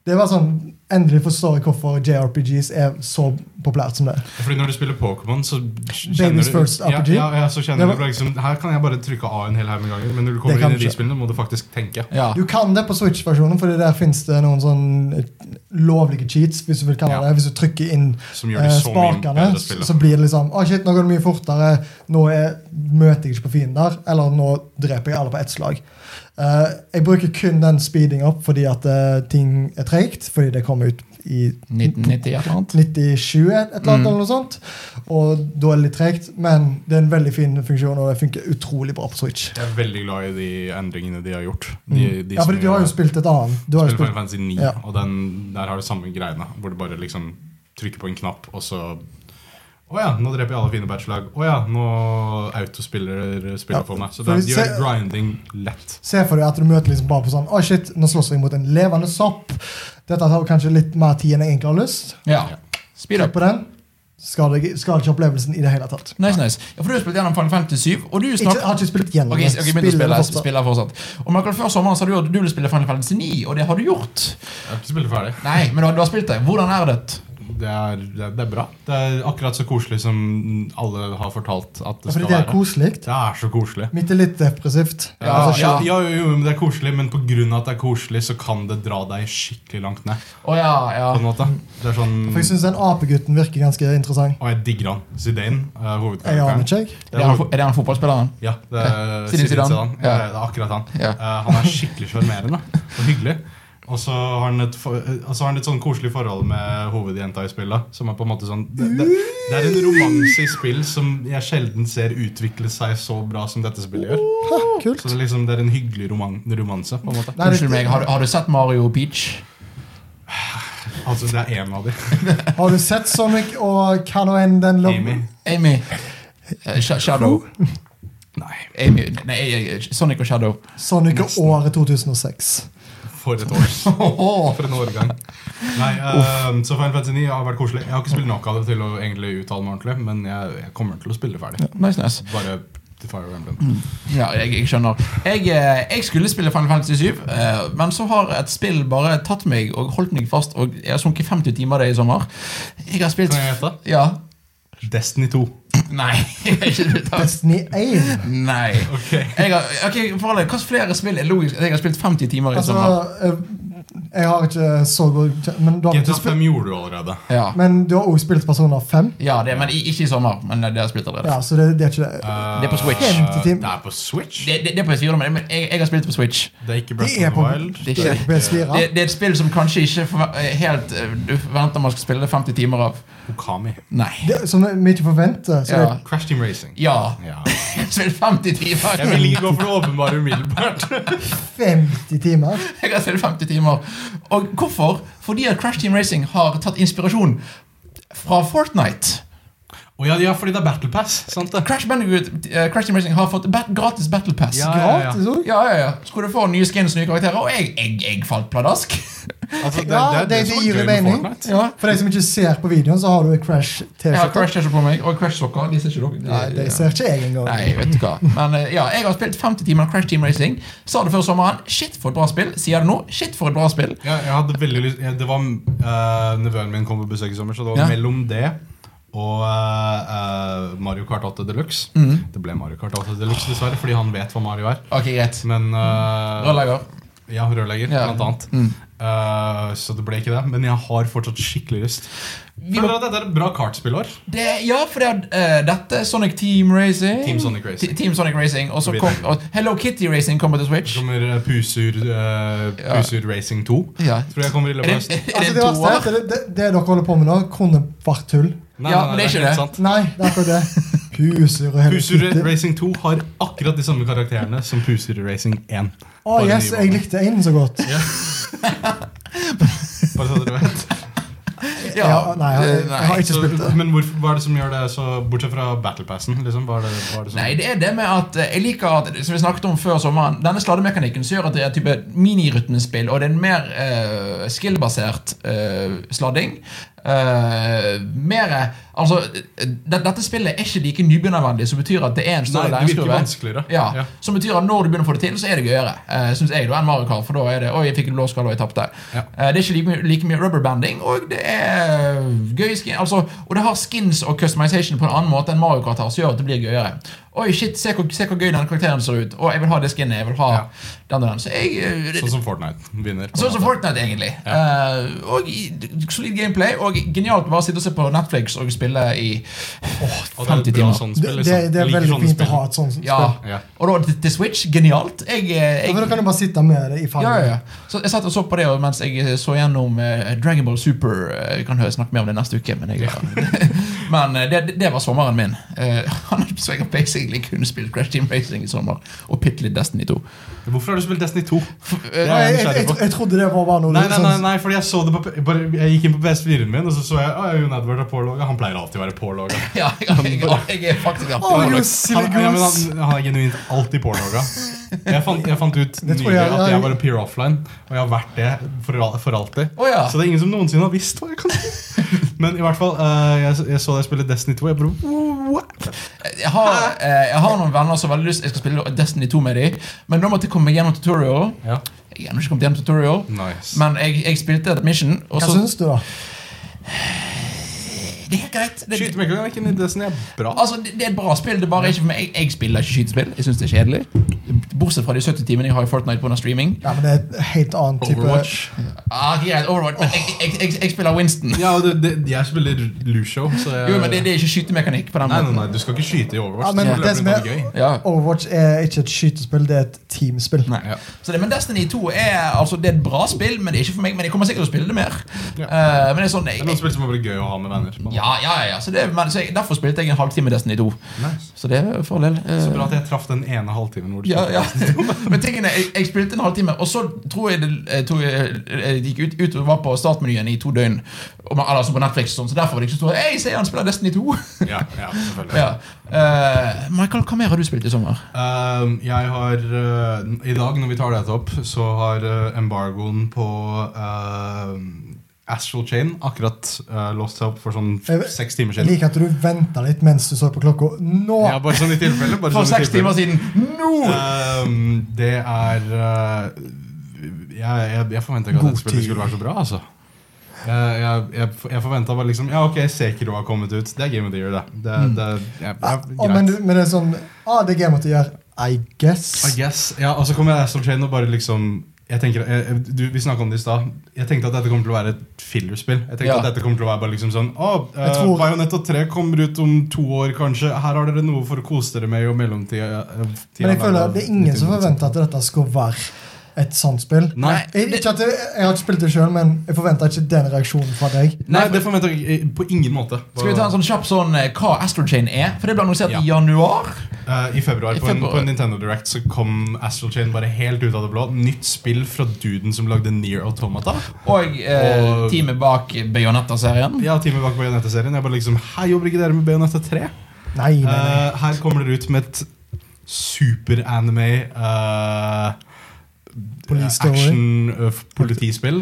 [SPEAKER 3] det var sånn endelig forstår jeg hvorfor JRPGs er så populært som det. er.
[SPEAKER 2] Fordi når du spiller Pokémon, så kjenner
[SPEAKER 3] Baby's
[SPEAKER 2] du
[SPEAKER 3] first
[SPEAKER 2] ja,
[SPEAKER 3] RPG.
[SPEAKER 2] ja, ja, så kjenner
[SPEAKER 3] Det
[SPEAKER 2] du
[SPEAKER 3] var-
[SPEAKER 2] bare liksom, Her kan jeg bare trykke A en hel haug med ganger, men når du
[SPEAKER 3] Det
[SPEAKER 2] kommer
[SPEAKER 3] kan
[SPEAKER 2] inn i
[SPEAKER 3] du
[SPEAKER 2] de
[SPEAKER 3] ikke.
[SPEAKER 2] spillene, må du faktisk tenke.
[SPEAKER 1] Ja.
[SPEAKER 3] Du kan det på Switch-versjonen, Fordi der fins det noen sånn eh, lovlige cheats. Hvis du vil kalle
[SPEAKER 2] Ja.
[SPEAKER 3] det Hvis du trykker inn
[SPEAKER 2] Som gjør
[SPEAKER 3] eh,
[SPEAKER 2] de så mye
[SPEAKER 3] spakene,
[SPEAKER 2] bedre å
[SPEAKER 3] så,
[SPEAKER 2] spille.
[SPEAKER 3] så blir det liksom Å, shit, nå går det mye fortere. Nå er, møter jeg ikke på fiender. Eller nå dreper jeg alle på ett slag. Eh, jeg bruker kun den speeding up fordi at eh, ting er treigt. Fordi det kom ut i
[SPEAKER 1] 1990 et eller annet.
[SPEAKER 3] 97 et eller
[SPEAKER 2] Mm.
[SPEAKER 3] annet, eller noe sånt. Og da er det litt tregt, men det er en veldig fin funksjon, og det funker utrolig bra på Switch.
[SPEAKER 2] Jeg er veldig glad i de endringene de har gjort. De, de
[SPEAKER 3] Mm. ja, for
[SPEAKER 2] som
[SPEAKER 3] du har jo spilt et annet. Du har jo
[SPEAKER 2] spiller Final
[SPEAKER 3] spilt,
[SPEAKER 2] Fantasy 9,
[SPEAKER 3] Ja.
[SPEAKER 2] og den, der har du samme greiene. Hvor du bare liksom trykker på en knapp, og så Å ja, nå dreper jeg alle fine bachelorlag. Å ja, nå autospiller spiller
[SPEAKER 3] Ja,
[SPEAKER 2] på meg. Så
[SPEAKER 3] for
[SPEAKER 2] den,
[SPEAKER 3] vi
[SPEAKER 2] de gjør
[SPEAKER 3] ser-
[SPEAKER 2] grinding lett.
[SPEAKER 3] se for deg at du møter liksom bare på sånn Å, shit, nå slåss jeg mot en levende sopp. Dette tar kanskje litt mer tid enn jeg egentlig har lyst.
[SPEAKER 1] Ja. Speed
[SPEAKER 3] Trykk
[SPEAKER 1] up.
[SPEAKER 3] på den. Skader ikke- skader ikke opplevelsen i det hele tatt.
[SPEAKER 1] Nice, nice. Ja, for du har spilt gjennom Final Fantasy 7, og du
[SPEAKER 3] Ikke,
[SPEAKER 1] snakker
[SPEAKER 3] har ikke spilt gjennom
[SPEAKER 1] Ok,
[SPEAKER 3] det.
[SPEAKER 1] ok, begynte å
[SPEAKER 3] Spiller
[SPEAKER 1] spille,
[SPEAKER 3] fortsatt.
[SPEAKER 1] spiller altså fortsatt. Og Michael, Før sommeren sa du at du ville spille Final Fantasy 9, og det har du gjort.
[SPEAKER 2] Jeg har ikke spilt ferdig.
[SPEAKER 1] Nei, men du har, du har spilt det. Hvordan er det?
[SPEAKER 2] Det er, det, er- det er bra. Det er akkurat så koselig som alle har fortalt at
[SPEAKER 3] Ja,
[SPEAKER 2] det
[SPEAKER 3] fordi
[SPEAKER 2] skal
[SPEAKER 3] det er
[SPEAKER 2] være.
[SPEAKER 3] koselig.
[SPEAKER 2] Det er så koselig.
[SPEAKER 3] Mitt er litt depressivt.
[SPEAKER 2] Ja,
[SPEAKER 1] Altså,
[SPEAKER 2] ja,
[SPEAKER 1] skjønner-
[SPEAKER 2] ja, jo, jo, men det er koselig, men pga. at det er koselig, så kan det dra deg skikkelig langt ned.
[SPEAKER 1] Å ja, ja.
[SPEAKER 2] På en måte. Det er sånn
[SPEAKER 3] For jeg syns den apegutten virker ganske interessant.
[SPEAKER 2] Og jeg digger han. Zidane er
[SPEAKER 3] Jeg aner
[SPEAKER 2] hovedkarakteren.
[SPEAKER 3] ikke, jeg.
[SPEAKER 1] Er det han, er det han fotballspilleren?
[SPEAKER 2] Ja, det er
[SPEAKER 1] Zidane,
[SPEAKER 2] Zidane.
[SPEAKER 1] Zidane.
[SPEAKER 2] Ja,
[SPEAKER 1] Ja.
[SPEAKER 2] det er akkurat han.
[SPEAKER 1] Ja.
[SPEAKER 2] Eh, han er skikkelig sjarmerende og hyggelig. Og så har han et, for, eh, og så har han et sånn koselig forhold med hovedjenta i spillet. Som er på en måte sånn Det, det, det er en romanse i spill som jeg sjelden ser utvikle seg så bra som dette spillet gjør.
[SPEAKER 3] Ha, kult.
[SPEAKER 2] Så det er liksom det er en hyggelig roman, romanse. på en måte
[SPEAKER 3] Nei, det-
[SPEAKER 1] Unnskyld meg, har, du- har du sett Mario og Peach?
[SPEAKER 2] Altså, det er én av de.
[SPEAKER 3] Har du sett Sonic og hva nå enn den lo-
[SPEAKER 2] Amy.
[SPEAKER 1] Amy. Eh, Sha- Shadow.
[SPEAKER 2] Nei,
[SPEAKER 1] Amy. Nei, eh, Sonic og Shadow.
[SPEAKER 3] Sonic og året 2006.
[SPEAKER 2] for et år.
[SPEAKER 1] Åh,
[SPEAKER 2] For en årgang. Nei, ehm, så Final Fantasy 9 har vært koselig. Jeg har ikke spilt nok av det til å egentlig uttale meg ordentlig, men jeg, jeg kommer til å spille det ferdig.
[SPEAKER 1] Nice, nice.
[SPEAKER 2] Bare til Fire Emblem.
[SPEAKER 3] Mm.
[SPEAKER 1] Ja, jeg, jeg skjønner. Jeg, eh, jeg skulle spille Final Fantasy 7, eh, men så har et spill bare tatt meg og holdt meg fast, og jeg har sunket 50 timer i det i sommer. Jeg har spilt
[SPEAKER 2] Kan jeg gjette?
[SPEAKER 1] Ja.
[SPEAKER 2] Destiny 2.
[SPEAKER 1] Nei. jeg har ikke spilt det.
[SPEAKER 3] Destiny 1.
[SPEAKER 1] Nei.
[SPEAKER 2] Ok.
[SPEAKER 1] Jeg har, ok, for alle, Hvilke flere spill er logisk? Jeg har spilt 50 timer i
[SPEAKER 3] Altså,
[SPEAKER 1] sommer.
[SPEAKER 3] eh, jeg har ikke så god kjen- Men du har,
[SPEAKER 2] GTA
[SPEAKER 3] ikke spilt,
[SPEAKER 2] 5 gjorde du allerede.
[SPEAKER 1] Ja,
[SPEAKER 3] men du har også spilt Personer 5,
[SPEAKER 1] ja det, men i- ikke i sommer. Men det har jeg spilt allerede.
[SPEAKER 3] ja, så det, det er ikke det.
[SPEAKER 1] Det er på Switch.
[SPEAKER 2] Eh,
[SPEAKER 3] 50 timer.
[SPEAKER 2] Det er på Switch?
[SPEAKER 1] Det, det, det er på PS4, men jeg, jeg har spilt på Switch.
[SPEAKER 2] Det er ikke
[SPEAKER 3] Det
[SPEAKER 2] Breath
[SPEAKER 3] er
[SPEAKER 2] of
[SPEAKER 3] på,
[SPEAKER 2] the Wild?
[SPEAKER 1] Det
[SPEAKER 3] det er på PS4.
[SPEAKER 1] Det, det er et spill som kanskje ikke forve- eh, helt eh, du forventer man skal spille 50 timer av.
[SPEAKER 2] Okami.
[SPEAKER 1] Nei.
[SPEAKER 3] Det, som vi ikke forventer. Så
[SPEAKER 1] Ja.
[SPEAKER 3] det,
[SPEAKER 2] Crash Team Racing.
[SPEAKER 1] Ja.
[SPEAKER 2] Ja.
[SPEAKER 1] Spill 50 timer!
[SPEAKER 2] Jeg vil ikke gå for det åpenbare umiddelbart.
[SPEAKER 3] 50 timer.
[SPEAKER 1] Jeg har spilt 50 timer. Og hvorfor? Fordi at Crash Team Racing har tatt inspirasjon fra Fortnite.
[SPEAKER 2] Å ja, ja, fordi det er Battle Pass. Sant det?
[SPEAKER 1] Crash, Bandicoot, eh, Crash Team Racing har fått ba gratis Battle Pass.
[SPEAKER 2] Ja, ja, ja.
[SPEAKER 3] Gratis òg.
[SPEAKER 1] Ja, ja, ja. Skulle du få nye skins nye karakterer, og jeg, jeg, jeg falt pladask.
[SPEAKER 2] Altså, det,
[SPEAKER 3] Ja,
[SPEAKER 2] det, det,
[SPEAKER 3] det,
[SPEAKER 2] som
[SPEAKER 3] det
[SPEAKER 2] er
[SPEAKER 3] gir
[SPEAKER 2] gøy
[SPEAKER 3] jo
[SPEAKER 2] med
[SPEAKER 3] mening.
[SPEAKER 2] Fortnite.
[SPEAKER 1] Ja.
[SPEAKER 3] For de som ikke ser på videoen, så har du en Crash
[SPEAKER 1] Jeg har
[SPEAKER 3] T-skjorte.
[SPEAKER 1] Crash-sokker på meg, og Crash-sokker. De ser ikke dere.
[SPEAKER 3] Nei, det ser ikke jeg engang.
[SPEAKER 1] Nei, vet du hva. Men eh, ja, jeg har spilt 50 timer Crash Team Racing. Sa det før sommeren. Shit, for et bra spill. Sier det nå. Shit, for et bra spill.
[SPEAKER 2] Ja, jeg hadde veldig lyst jeg- Det var eh, Nevøen min kom på besøk i sommer, så det var
[SPEAKER 1] Ja.
[SPEAKER 2] mellom det og eh, eh, Mario Kart 8 Deluxe.
[SPEAKER 1] Mhm.
[SPEAKER 2] Det ble Mario Kart 8 Deluxe, dessverre, fordi han vet hva Mario er.
[SPEAKER 1] Ok, greit.
[SPEAKER 2] Men eh,
[SPEAKER 1] Rørlegger.
[SPEAKER 2] Ja, rørlegger,
[SPEAKER 1] Ja. Mhm.
[SPEAKER 2] blant annet. Eh, så det ble ikke det. Men jeg har fortsatt skikkelig lyst.
[SPEAKER 1] Vi
[SPEAKER 2] Føler
[SPEAKER 1] må-
[SPEAKER 2] at dette er et bra kartspillår.
[SPEAKER 1] Det, ja, for det er eh, dette Sonic Team Racing.
[SPEAKER 2] Team Sonic Racing.
[SPEAKER 1] Te- Team Sonic Racing Og så
[SPEAKER 2] Vi
[SPEAKER 1] kom
[SPEAKER 2] vet.
[SPEAKER 1] og Hello Kitty Racing kommer til
[SPEAKER 2] Så
[SPEAKER 1] Switch.
[SPEAKER 2] kommer eh, Pusur, eh,
[SPEAKER 1] Ja.
[SPEAKER 2] Pusur Racing 2.
[SPEAKER 1] Ja.
[SPEAKER 2] Tror jeg kommer i løpet av høsten.
[SPEAKER 1] Er
[SPEAKER 3] Altså,
[SPEAKER 1] det
[SPEAKER 3] det,
[SPEAKER 1] en
[SPEAKER 3] verste er at
[SPEAKER 1] toer?
[SPEAKER 3] det, det, det dere holder på med nå, kunne vært tull.
[SPEAKER 2] Nei,
[SPEAKER 1] Ja,
[SPEAKER 2] nei,
[SPEAKER 1] men det
[SPEAKER 2] nei,
[SPEAKER 1] er ikke
[SPEAKER 2] helt
[SPEAKER 1] det.
[SPEAKER 2] sant.
[SPEAKER 3] Nei, det er akkurat det. Pusur og hele
[SPEAKER 2] Pusur
[SPEAKER 3] kittet.
[SPEAKER 2] Racing 2 har akkurat de samme karakterene som Pusur Racing 1.
[SPEAKER 3] Å,
[SPEAKER 2] Bare
[SPEAKER 3] yes,
[SPEAKER 2] nye
[SPEAKER 3] jeg
[SPEAKER 2] baner.
[SPEAKER 3] likte én så godt.
[SPEAKER 2] Bare så dere vet.
[SPEAKER 1] Ja,
[SPEAKER 3] Ja, nei, jeg-
[SPEAKER 1] eh,
[SPEAKER 3] jeg har ikke-
[SPEAKER 2] Så,
[SPEAKER 3] spilt det.
[SPEAKER 2] men hvorfor, hva er det som gjør det så Bortsett fra battlepassen, liksom? Hva er det, hva er det som
[SPEAKER 1] Nei, det er det med at eh, jeg liker at Som vi snakket om før sommeren Denne slademekanikken som gjør at det er type minirytmespill, og det er en mer eh, skill-basert eh, sladding. eh, mere Altså, det, dette spillet er ikke like nybegynnervennlig, som betyr at det er en
[SPEAKER 2] Nei,
[SPEAKER 1] større
[SPEAKER 2] det virker
[SPEAKER 1] læringskurve.
[SPEAKER 2] vanskeligere.
[SPEAKER 1] Ja,
[SPEAKER 2] Ja.
[SPEAKER 1] Som betyr at når du begynner å få det til, så er det gøyere. Uh, synes jeg da, enn Mario Kart, for da er det Oi, jeg fikk en blåskall, og jeg tapte.
[SPEAKER 2] Ja.
[SPEAKER 1] Eh, det er ikke like, mye- like mye rubberbanding, og det er gøy skin altså, Og det har skins og customization på en annen måte enn Mario Kart har, som gjør at det blir gøyere. Oi, shit, se hvor, se hvor gøy den karakteren ser ut. Og jeg vil ha det skinnet. Jeg vil ha
[SPEAKER 2] Ja.
[SPEAKER 1] den og den. Så jeg eh, det-
[SPEAKER 2] Sånn som Fortnite vinner. på en
[SPEAKER 1] Sånn som
[SPEAKER 2] måte.
[SPEAKER 1] Fortnite, egentlig. Eh, og i- Solid gameplay, og genialt bare å sitte og se på Netflix og spille i
[SPEAKER 2] Og det er
[SPEAKER 1] 50
[SPEAKER 2] et bra
[SPEAKER 1] timer.
[SPEAKER 2] sånt
[SPEAKER 3] Det,
[SPEAKER 2] spill,
[SPEAKER 3] det,
[SPEAKER 2] liksom.
[SPEAKER 3] det
[SPEAKER 2] Jeg
[SPEAKER 3] er
[SPEAKER 2] liker
[SPEAKER 3] veldig
[SPEAKER 2] sånne
[SPEAKER 3] fint å
[SPEAKER 2] spill.
[SPEAKER 3] ha et sånt
[SPEAKER 1] Ja.
[SPEAKER 2] Ja.
[SPEAKER 1] Og da til- til Switch, genialt. Jeg, eh,
[SPEAKER 3] Ja,
[SPEAKER 1] jeg
[SPEAKER 3] men Da kan du bare sitte med det i
[SPEAKER 1] ja, ja,
[SPEAKER 3] fanget.
[SPEAKER 1] ja. Så jeg satt og så på det og mens jeg så gjennom eh, Dragon Ball Super. eh, Vi kan hø- snakke mer om det neste uke, men, jeg, men eh, det, det var sommeren min. Eh, så jeg har basically kun spilt Crash Team Racing i sommer og bitte litt Destiny 2.
[SPEAKER 2] Hvorfor har du spilt Destiny 2?
[SPEAKER 1] eh,
[SPEAKER 2] Det er
[SPEAKER 3] Nei, Jeg,
[SPEAKER 2] jeg
[SPEAKER 3] jeg,
[SPEAKER 2] nysgjerrig
[SPEAKER 3] jeg,
[SPEAKER 2] på.
[SPEAKER 3] trodde det var bare noe
[SPEAKER 2] Nei, nei, nei,
[SPEAKER 3] sånn-
[SPEAKER 2] nei, fordi jeg så det på p- bare, Jeg gikk inn på PS4-en min, og så så jeg at Jon Edvard er pålogga. Han pleier alltid å være altså. pålogga.
[SPEAKER 1] Ja, jeg, jeg, jeg er faktisk
[SPEAKER 3] Å,
[SPEAKER 1] alltid
[SPEAKER 3] you
[SPEAKER 1] overlagt.
[SPEAKER 3] silly
[SPEAKER 2] Han, ja, men
[SPEAKER 3] goose.
[SPEAKER 2] han, han er genuint alltid pålogga. Jeg fant, jeg fant ut
[SPEAKER 3] Det tror
[SPEAKER 2] nylig
[SPEAKER 3] jeg-
[SPEAKER 2] at
[SPEAKER 3] jeg-
[SPEAKER 2] jeg var en peer offline, og jeg har vært det for, al- for alltid.
[SPEAKER 1] Å, ja.
[SPEAKER 2] Så det er ingen som noensinne har visst hva jeg kan si. Men i hvert fall, eh, jeg, jeg så deg spille Destiny 2. Jeg bare, what?
[SPEAKER 1] Jeg har, eh, jeg har noen venner som har veldig lyst Jeg skal spille Destiny 2 med dem, men da måtte jeg komme meg gjennom tutorial.
[SPEAKER 2] Ja.
[SPEAKER 1] Jeg har ennå ikke kommet gjennom tutorial,
[SPEAKER 2] Nice.
[SPEAKER 1] men jeg, jeg spilte et mission. Og
[SPEAKER 3] Hva
[SPEAKER 2] altså-
[SPEAKER 1] så,
[SPEAKER 3] syns du, da?
[SPEAKER 1] det er helt greit. Det,
[SPEAKER 2] Skyte meg ikke, jeg er ikke Destiny er bra.
[SPEAKER 1] Altså, det, det er et bra spill. Det er bare ikke for meg. Jeg, jeg spiller ikke skytespill. Jeg synes det er kjedelig. Bortsett fra de 70 timene jeg har i Fortnite pga. streaming.
[SPEAKER 3] Ja, men Det er et helt annet type
[SPEAKER 2] Overwatch.
[SPEAKER 1] Ah, greit, Overwatch, men jeg, jeg, jeg, jeg spiller Winston.
[SPEAKER 2] Ja, og det, det, jeg spiller Lucio, så jeg
[SPEAKER 1] Jo, men det, det er ikke skytemekanikk på den
[SPEAKER 2] Nei, nei,
[SPEAKER 1] måten.
[SPEAKER 2] nei, du skal ikke skyte i Overwatch.
[SPEAKER 3] Ja, men
[SPEAKER 2] du skal
[SPEAKER 3] det som
[SPEAKER 2] løpe rundt og
[SPEAKER 3] er-
[SPEAKER 2] ha det gøy.
[SPEAKER 1] Ja.
[SPEAKER 3] Overwatch er ikke et skytespill, det er et teamspill.
[SPEAKER 1] Nei.
[SPEAKER 2] Ja.
[SPEAKER 1] Så det, men Destiny 2 er altså, det er et bra spill, men det er ikke for meg. Men jeg kommer sikkert til å spille det mer.
[SPEAKER 2] Ja.
[SPEAKER 1] Eh, men det er sånn jeg,
[SPEAKER 2] Det er noen spill som er bare gøy å ha med venner. på en måte.
[SPEAKER 1] ja, ja, ja, så det, men, så jeg, Derfor spilte jeg en halvtime Destiny 2.
[SPEAKER 2] Nice.
[SPEAKER 1] Så det er en fordel. Eh,
[SPEAKER 2] Så bra at jeg traff den ene halvtimen hvor du
[SPEAKER 1] Ja,
[SPEAKER 2] spilte
[SPEAKER 1] ja.
[SPEAKER 2] Destiny.
[SPEAKER 1] Men tingene, jeg, jeg spilte en halvtime, og så tror jeg det jeg tror jeg, jeg gikk ut, ut og var på startmenyen i to døgn. Og man, altså på Netflix og sånn, Så derfor var det ikke så stor Hei, se, han spiller Destiny 2!
[SPEAKER 2] Ja, ja, selvfølgelig.
[SPEAKER 1] ja. Eh, Michael, hva mer har du spilt i sommer?
[SPEAKER 2] Ehm, jeg har eh, I dag, når vi tar dette opp, så har eh, embargoen på ehm, Astral Chain akkurat eh, låst seg opp for sånn
[SPEAKER 3] Jeg vet-
[SPEAKER 2] seks timer
[SPEAKER 3] Jeg
[SPEAKER 2] siden.
[SPEAKER 3] liker at du venta litt mens du så på klokka. Nå!
[SPEAKER 2] Ja, bare sånn i tilfelle. Bare
[SPEAKER 1] For
[SPEAKER 2] sånn i
[SPEAKER 1] seks
[SPEAKER 2] tilfelle.
[SPEAKER 1] timer siden. Nå!
[SPEAKER 2] Ehm, det er eh, Jeg, jeg, jeg forventa ikke at
[SPEAKER 3] God
[SPEAKER 2] dette spillet
[SPEAKER 3] tid.
[SPEAKER 2] skulle være så bra, altså. Jeg, jeg, jeg, jeg forventa bare liksom Ja, ok, Sekiro har kommet ut. Det er Game of the Year, det. det, det jeg,
[SPEAKER 3] Mm. Ja,
[SPEAKER 2] jeg,
[SPEAKER 3] og, Ah, men,
[SPEAKER 2] greit.
[SPEAKER 3] men det er sånn ah, Det er game måtte gjøre, I guess.
[SPEAKER 2] I guess. Ja, og så kommer jeg Astral Chain og bare liksom jeg tenker, jeg, jeg- du, Vi snakka om det i stad. Jeg tenkte at dette kommer til å være et fillerspill. Jeg tenkte
[SPEAKER 1] Ja.
[SPEAKER 2] at dette kommer til å være bare liksom sånn Å,
[SPEAKER 3] Jeg
[SPEAKER 2] eh,
[SPEAKER 3] tror-
[SPEAKER 2] Bayonetta 3 kommer ut om to år, kanskje. Her har dere noe for å kose dere med i mellomtida. eh, tida eh,
[SPEAKER 3] Men jeg føler
[SPEAKER 2] mellom-
[SPEAKER 3] det er ingen som forventer at dette skulle være et sånt spill.
[SPEAKER 2] Nei,
[SPEAKER 3] Jeg, ikke at jeg, jeg har ikke spilt det sjøl, men jeg forventa ikke den reaksjonen fra deg.
[SPEAKER 2] nei det forventer jeg eh, på ingen måte.
[SPEAKER 1] Skal vi ta en sånn kjapp sånn eh, hva Astro Chain er? For det ble annonsert
[SPEAKER 2] Ja.
[SPEAKER 1] i januar.
[SPEAKER 2] Eh, I februar,
[SPEAKER 1] I
[SPEAKER 2] på, en,
[SPEAKER 1] februar.
[SPEAKER 2] på en Nintendo Direct så kom Astral Chain bare helt ut av det blå. Nytt spill fra duden som lagde Near Automata.
[SPEAKER 1] Og eh,
[SPEAKER 2] Og-
[SPEAKER 1] teamet bak Bayonetta-serien.
[SPEAKER 2] Ja, teamet bak Bayonetta-serien. Jeg bare liksom Hei, jobber ikke dere med Bayonetta 3?
[SPEAKER 3] Nei, nei, nei.
[SPEAKER 2] Eh, her kommer dere ut med et super-anime eh,
[SPEAKER 3] Police Story.
[SPEAKER 2] action eh, politispill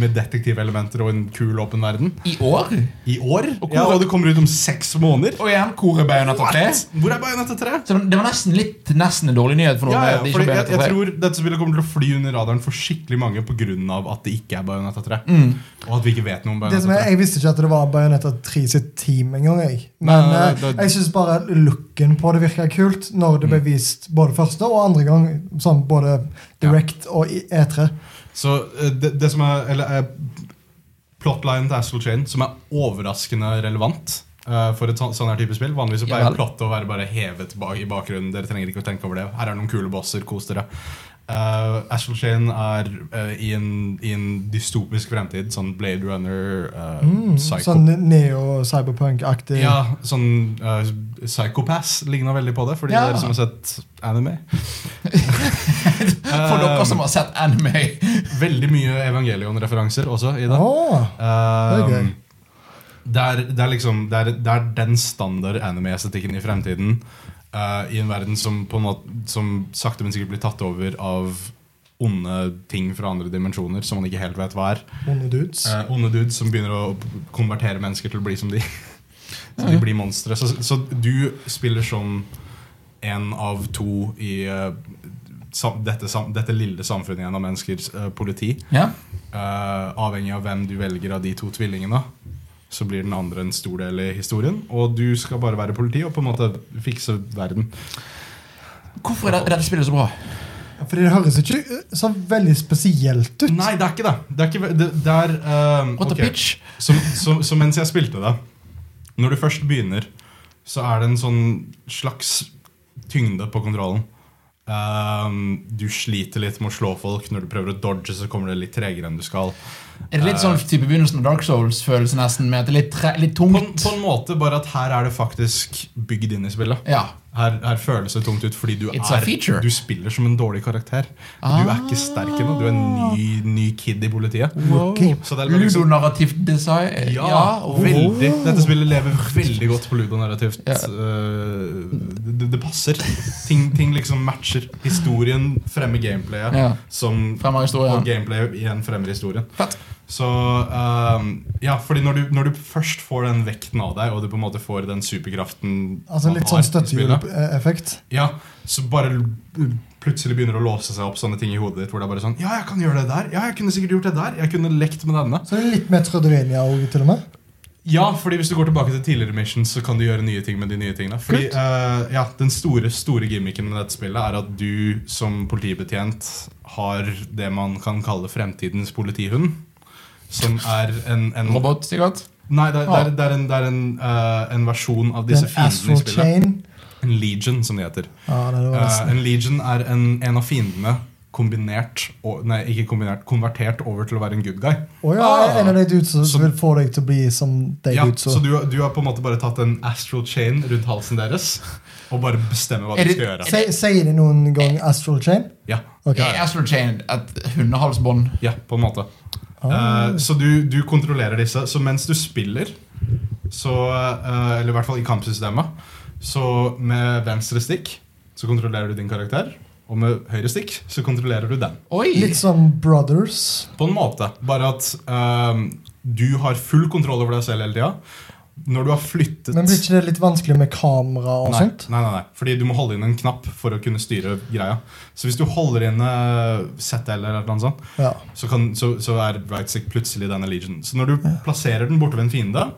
[SPEAKER 2] med detektivelementer og en kul åpen verden.
[SPEAKER 1] I år.
[SPEAKER 2] I år?
[SPEAKER 1] Og hvor-
[SPEAKER 2] ja, og det kommer ut om seks måneder.
[SPEAKER 1] Og igjen koret Bayonetta 3.
[SPEAKER 2] Hvor er Bayonetta 3?
[SPEAKER 1] Så det var nesten litt nesten en dårlig nyhet for noen.
[SPEAKER 2] Ja, ja,
[SPEAKER 1] at det ikke
[SPEAKER 2] fordi
[SPEAKER 1] var
[SPEAKER 2] jeg,
[SPEAKER 1] Bayonetta 3.
[SPEAKER 2] jeg tror dette spillet kommer til å fly under radaren for skikkelig mange pga. at det ikke er Bayonetta 3. Og at vi ikke vet noe om
[SPEAKER 3] Det som
[SPEAKER 2] Bayonetta 3.
[SPEAKER 3] er, jeg visste ikke at det var Bayonetta 3 sitt team engang. Jeg. Men
[SPEAKER 2] Nei, nei, nei,
[SPEAKER 3] eh,
[SPEAKER 2] det- Mm.
[SPEAKER 3] jeg syns bare looken på det virka kult når det ble vist både første og andre gang. Sånn både Direct og i E E3.
[SPEAKER 2] Så eh, det, det som er, eller, er plotline til Astral Chain, som er overraskende relevant eh, for et sånn sånn her type spill. Vanligvis så
[SPEAKER 1] Ja
[SPEAKER 2] pleier
[SPEAKER 1] vel.
[SPEAKER 2] plottet å være bare hevet ba- i bakgrunnen. Dere trenger ikke å tenke over det. Her er noen kule bosser. Kos dere. Eh, Astral Chain er eh, i, en, i en dystopisk fremtid. Sånn Blade Runner, eh,
[SPEAKER 1] Mm,
[SPEAKER 2] Psycho
[SPEAKER 3] Sånn neo-cyberpunk-aktig.
[SPEAKER 2] Ja, sånn uh, Psychopass ligna veldig på det, for de
[SPEAKER 1] Ja.
[SPEAKER 2] dere som har sett anime.
[SPEAKER 1] For dere som har sett anime.
[SPEAKER 2] Eh, Veldig mye Evangelion-referanser også i det.
[SPEAKER 3] Åh,
[SPEAKER 2] Um,
[SPEAKER 3] det er gøy.
[SPEAKER 2] det, er, det, er liksom, det, er, det er den standard anime-estetikken i fremtiden. eh, I en verden som, på en måte, som sakte, men sikkert blir tatt over av onde ting fra andre dimensjoner som man ikke helt vet hva er.
[SPEAKER 3] Onde dudes.
[SPEAKER 2] Eh, onde dudes som begynner å konvertere mennesker til å bli som de. så de blir monstre. Så, så du spiller som en av to i eh, sam, dette, sam, dette lille samfunnet igjen av menneskers eh, politi.
[SPEAKER 1] Ja?
[SPEAKER 2] Eh, avhengig av hvem du velger av de to tvillingene, så blir den andre en stor del i historien. Og du skal bare være politi og på en måte fikse verden.
[SPEAKER 1] Hvorfor er det- er dette spillet så bra?
[SPEAKER 3] Fordi det høres ikke eh, så veldig spesielt ut.
[SPEAKER 2] Nei, det er ikke det. Det er, ikke, det, det er eh,
[SPEAKER 1] What
[SPEAKER 2] ok.
[SPEAKER 1] the pitch?
[SPEAKER 2] Så, så, så mens jeg spilte det Når du først begynner Så er det en sånn slags tyngde på kontrollen Ehm, Du sliter litt med å slå folk Når du prøver å dodge så kommer det litt tregere enn du skal
[SPEAKER 1] Er det litt sånn type begynnelsen av Dark Souls-følelse nesten, med at det er litt, tre, litt
[SPEAKER 2] på, en-
[SPEAKER 1] tungt?
[SPEAKER 2] på en måte bare at her er det faktisk bygd inn i spillet
[SPEAKER 1] Ja.
[SPEAKER 2] her, her føles det tungt ut fordi du,
[SPEAKER 1] It's a feature.
[SPEAKER 2] er, du spiller som en dårlig karakter Du er ikke sterk ennå Du er en ny, ny kid i politiet
[SPEAKER 3] Ok.
[SPEAKER 2] Så det er liksom
[SPEAKER 1] Ludonarrativt design?
[SPEAKER 2] Ja,
[SPEAKER 1] og-
[SPEAKER 2] veldig. Dette spillet lever veldig godt på ludonarrativt.
[SPEAKER 1] oh. Ja.
[SPEAKER 2] Eh, det, det passer. Ting, ting liksom matcher. Historien fremmer gameplayet.
[SPEAKER 1] Ja.
[SPEAKER 2] Som,
[SPEAKER 1] Fremmer historien.
[SPEAKER 2] Og gameplayet igjen fremmer historien.
[SPEAKER 1] Fett.
[SPEAKER 2] Så eh, Ja, fordi når du, når du først får den vekten av deg, og du på en måte får den superkraften
[SPEAKER 3] Altså
[SPEAKER 2] man
[SPEAKER 3] Litt
[SPEAKER 2] har
[SPEAKER 3] sånn
[SPEAKER 2] i spillet,
[SPEAKER 3] støttehjuleffekt.
[SPEAKER 2] ja, så bare l- plutselig begynner det å låse seg opp sånne ting i hodet ditt. Hvor det er bare sånn Ja, jeg kan gjøre det der. Ja, jeg kunne sikkert gjort det der. Jeg kunne lekt med denne.
[SPEAKER 3] Så det er litt mer Trødvenia òg, til og med.
[SPEAKER 2] Ja, fordi hvis du går tilbake til tidligere missions, så kan du gjøre nye ting med de nye tingene. Fordi, eh, ja, Den store store gimmicken med dette spillet er at du som politibetjent har det man kan kalle fremtidens politihund. Som er en, en
[SPEAKER 1] Robot, sikkert?
[SPEAKER 2] Nei, det, er- det, er, det er en, det er en, eh, en versjon av disse
[SPEAKER 3] Den
[SPEAKER 2] fiendene i
[SPEAKER 3] Astral
[SPEAKER 2] spillet.
[SPEAKER 3] Chain.
[SPEAKER 2] En legion, som de heter.
[SPEAKER 3] Ja, nei, det var
[SPEAKER 2] Eh,
[SPEAKER 3] nesten.
[SPEAKER 2] en legion er en, en av fiendene kombinert og, Nei, ikke kombinert, konvertert over til å være en good guy.
[SPEAKER 3] Å ja,
[SPEAKER 1] ah,
[SPEAKER 3] en av de dudesa
[SPEAKER 2] så-
[SPEAKER 3] som vil få deg til å bli som de
[SPEAKER 2] Ja,
[SPEAKER 3] dudesa.
[SPEAKER 2] så du, du har på en måte bare tatt en astral chain rundt halsen deres og bare bestemmer hva
[SPEAKER 1] Er
[SPEAKER 2] de
[SPEAKER 1] det-
[SPEAKER 2] skal gjøre.
[SPEAKER 3] Si- Sier de noen gang Astral Chain?
[SPEAKER 2] Ja,
[SPEAKER 3] Ok.
[SPEAKER 2] ja,
[SPEAKER 1] Er
[SPEAKER 2] ja.
[SPEAKER 1] Astral Chain et hundehalsbånd?
[SPEAKER 2] ja på en måte. Eh, så du, du kontrollerer disse. Så mens du spiller, så, eh, eller i hvert fall i kampsystemet, så med venstre stikk så kontrollerer du din karakter, og med høyre stikk så kontrollerer du den.
[SPEAKER 1] Oi!
[SPEAKER 3] Litt som Brothers.
[SPEAKER 2] På en måte. Bare at eh, du har full kontroll over deg selv hele tida. Når du har flyttet
[SPEAKER 3] Men blir ikke det litt vanskelig med kamera og
[SPEAKER 2] Nei,
[SPEAKER 3] sånt?
[SPEAKER 2] nei, nei, nei, fordi du må holde inn en knapp for å kunne styre greia. Så hvis du holder inne ZL eller noe sånt,
[SPEAKER 3] Ja.
[SPEAKER 2] så, kan, så, så er Rightsec plutselig denne legion. Så når du plasserer den borte ved en fiende,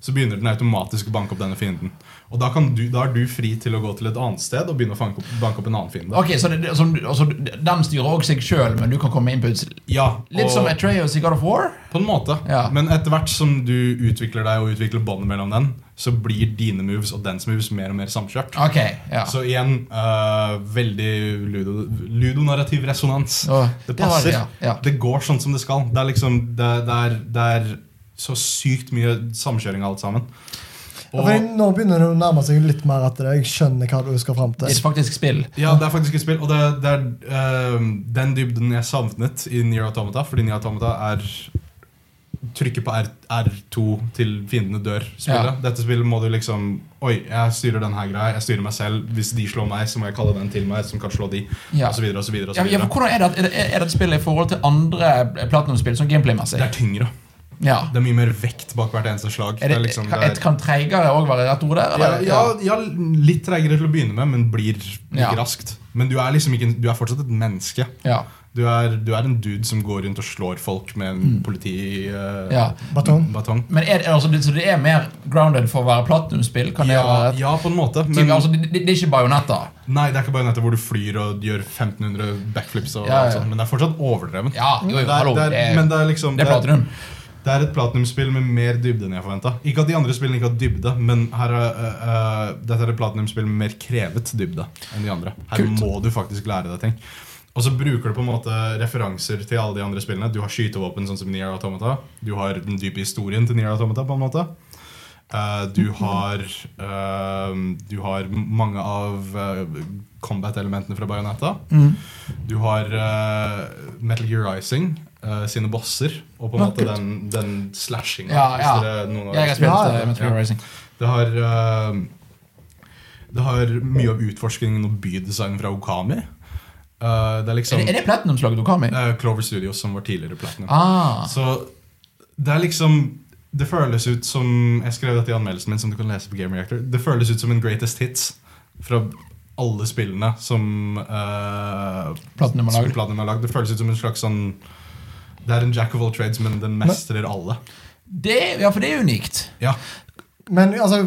[SPEAKER 2] så begynner den automatisk å banke opp denne fienden. Og da, kan du, da er du fri til å gå til et annet sted og begynne å fanke opp, banke opp en annen fiende.
[SPEAKER 1] Ok, så det, det- som, altså, Den styrer også seg sjøl, men du kan komme med inputs?
[SPEAKER 2] Ja,
[SPEAKER 1] Litt
[SPEAKER 2] og-
[SPEAKER 1] som Atreas i God of War?
[SPEAKER 2] På en måte.
[SPEAKER 1] Ja.
[SPEAKER 2] Men etter hvert som du utvikler deg og utvikler båndet mellom den, så blir dine moves og dens moves mer og mer samkjørt.
[SPEAKER 1] Ok, ja.
[SPEAKER 2] Så igjen, øh, veldig ludo, ludonarrativ resonans.
[SPEAKER 1] Å,
[SPEAKER 2] det
[SPEAKER 1] det har
[SPEAKER 2] passer.
[SPEAKER 1] det,
[SPEAKER 2] Det,
[SPEAKER 1] ja, ja.
[SPEAKER 2] går sånn som det skal. Det er liksom Det, det, er, det er så sykt mye samkjøring av alt sammen.
[SPEAKER 3] Ja,
[SPEAKER 2] Og
[SPEAKER 3] fordi nå begynner det å nærme seg litt mer at det- jeg skjønner hva du skal fram
[SPEAKER 1] det
[SPEAKER 3] til.
[SPEAKER 1] er faktisk spill.
[SPEAKER 2] ja, det er faktisk et spill, og det, det er øh, den dybden jeg savnet i Nier Automata, fordi Nier Automata er Trykke på R, R2 til fiendene dør. Spillet. Dette spillet må du liksom Oi, jeg styrer den her greia. Jeg styrer meg selv. Hvis de slår meg, så må jeg kalle den til meg, som kan slå de.
[SPEAKER 1] Ja.
[SPEAKER 2] Og så videre, og så videre, og så
[SPEAKER 1] Ja, ja,
[SPEAKER 2] videre.
[SPEAKER 1] for hvordan Er det at- er det- er det et spill i forhold til andre Platinum-spill, sånn gameplay-messig?
[SPEAKER 2] Det er tyngre.
[SPEAKER 1] Ja.
[SPEAKER 2] Det er mye mer vekt bak hvert eneste slag.
[SPEAKER 1] Er det,
[SPEAKER 2] Det er liksom,
[SPEAKER 1] kan,
[SPEAKER 2] det er-
[SPEAKER 1] et, kan treigere òg være rett ord der?
[SPEAKER 2] ja,
[SPEAKER 1] eller?
[SPEAKER 2] ja, ja, litt treigere til å begynne med, men blir like
[SPEAKER 1] Ja.
[SPEAKER 2] raskt. Men du er liksom ikke en- Du er fortsatt et menneske.
[SPEAKER 1] Ja.
[SPEAKER 2] Du er, du er en dude som går rundt og slår folk med en eh, politibatong.
[SPEAKER 1] Mm. ja.
[SPEAKER 3] Batong.
[SPEAKER 1] Men er det, altså, det, så det er mer grounded for å være platinum-spill? Kan det være
[SPEAKER 2] Ja,
[SPEAKER 1] et-
[SPEAKER 2] ja, på en måte.
[SPEAKER 1] Typ,
[SPEAKER 2] Men
[SPEAKER 1] altså, det, det, det er ikke bajonetter?
[SPEAKER 2] nei, det er ikke bare nettet hvor du flyr og gjør 1500 backflips. og
[SPEAKER 1] Ja,
[SPEAKER 2] alt
[SPEAKER 1] ja.
[SPEAKER 2] sånt, Men det er fortsatt overdreven.
[SPEAKER 1] Ja, jo, jo,
[SPEAKER 2] Det er-
[SPEAKER 1] hallo.
[SPEAKER 2] det er- men det er liksom
[SPEAKER 1] det er platinum.
[SPEAKER 2] Det er et platinumspill med mer dybde enn jeg forventa. Ikke at de andre spillene ikke har dybde, men her er, øh, øh, dette er et platinumspill med mer krevet dybde enn de andre. Her
[SPEAKER 1] Kult.
[SPEAKER 2] må du faktisk lære deg ting. Og så bruker du på en måte referanser til alle de andre spillene. Du har skytevåpen, sånn som Nier Automata. Du har den dype historien til Nier Automata. på en måte Eh, Du har eh, Du har mange av eh, combat-elementene fra Bayonetta.
[SPEAKER 1] Mm.
[SPEAKER 2] Du har eh, Metal Gear Rising eh, sine bosser, og på en
[SPEAKER 3] Ja,
[SPEAKER 2] måte
[SPEAKER 3] kult.
[SPEAKER 2] den, den slashinga.
[SPEAKER 1] Ja,
[SPEAKER 2] hvis
[SPEAKER 1] ja.
[SPEAKER 2] dere- noen av
[SPEAKER 1] Jeg
[SPEAKER 2] dere
[SPEAKER 1] har spilt
[SPEAKER 3] Ja,
[SPEAKER 1] eh,
[SPEAKER 3] ja.
[SPEAKER 1] Metal Gear Rising.
[SPEAKER 2] det har eh, Det har mye av utforskningen og bydesign fra Okami. Eh, det er
[SPEAKER 1] Er
[SPEAKER 2] liksom
[SPEAKER 1] det, er det platinumslaget du kom i?
[SPEAKER 2] eh, Clover Studios som var tidligere Platinum.
[SPEAKER 1] Ah,
[SPEAKER 2] Så det er liksom Det føles ut som Jeg skrev dette i anmeldelsen min, som du kan lese på Game Reactor. Det føles ut som en greatest hits fra alle spillene som eh,
[SPEAKER 1] Platinum har laget.
[SPEAKER 2] Platinum har lagd. Det føles ut som en slags sånn Det er en jack of all trades, men den mestrer alle.
[SPEAKER 1] det, ja, for det er unikt.
[SPEAKER 2] Ja,
[SPEAKER 3] Men altså,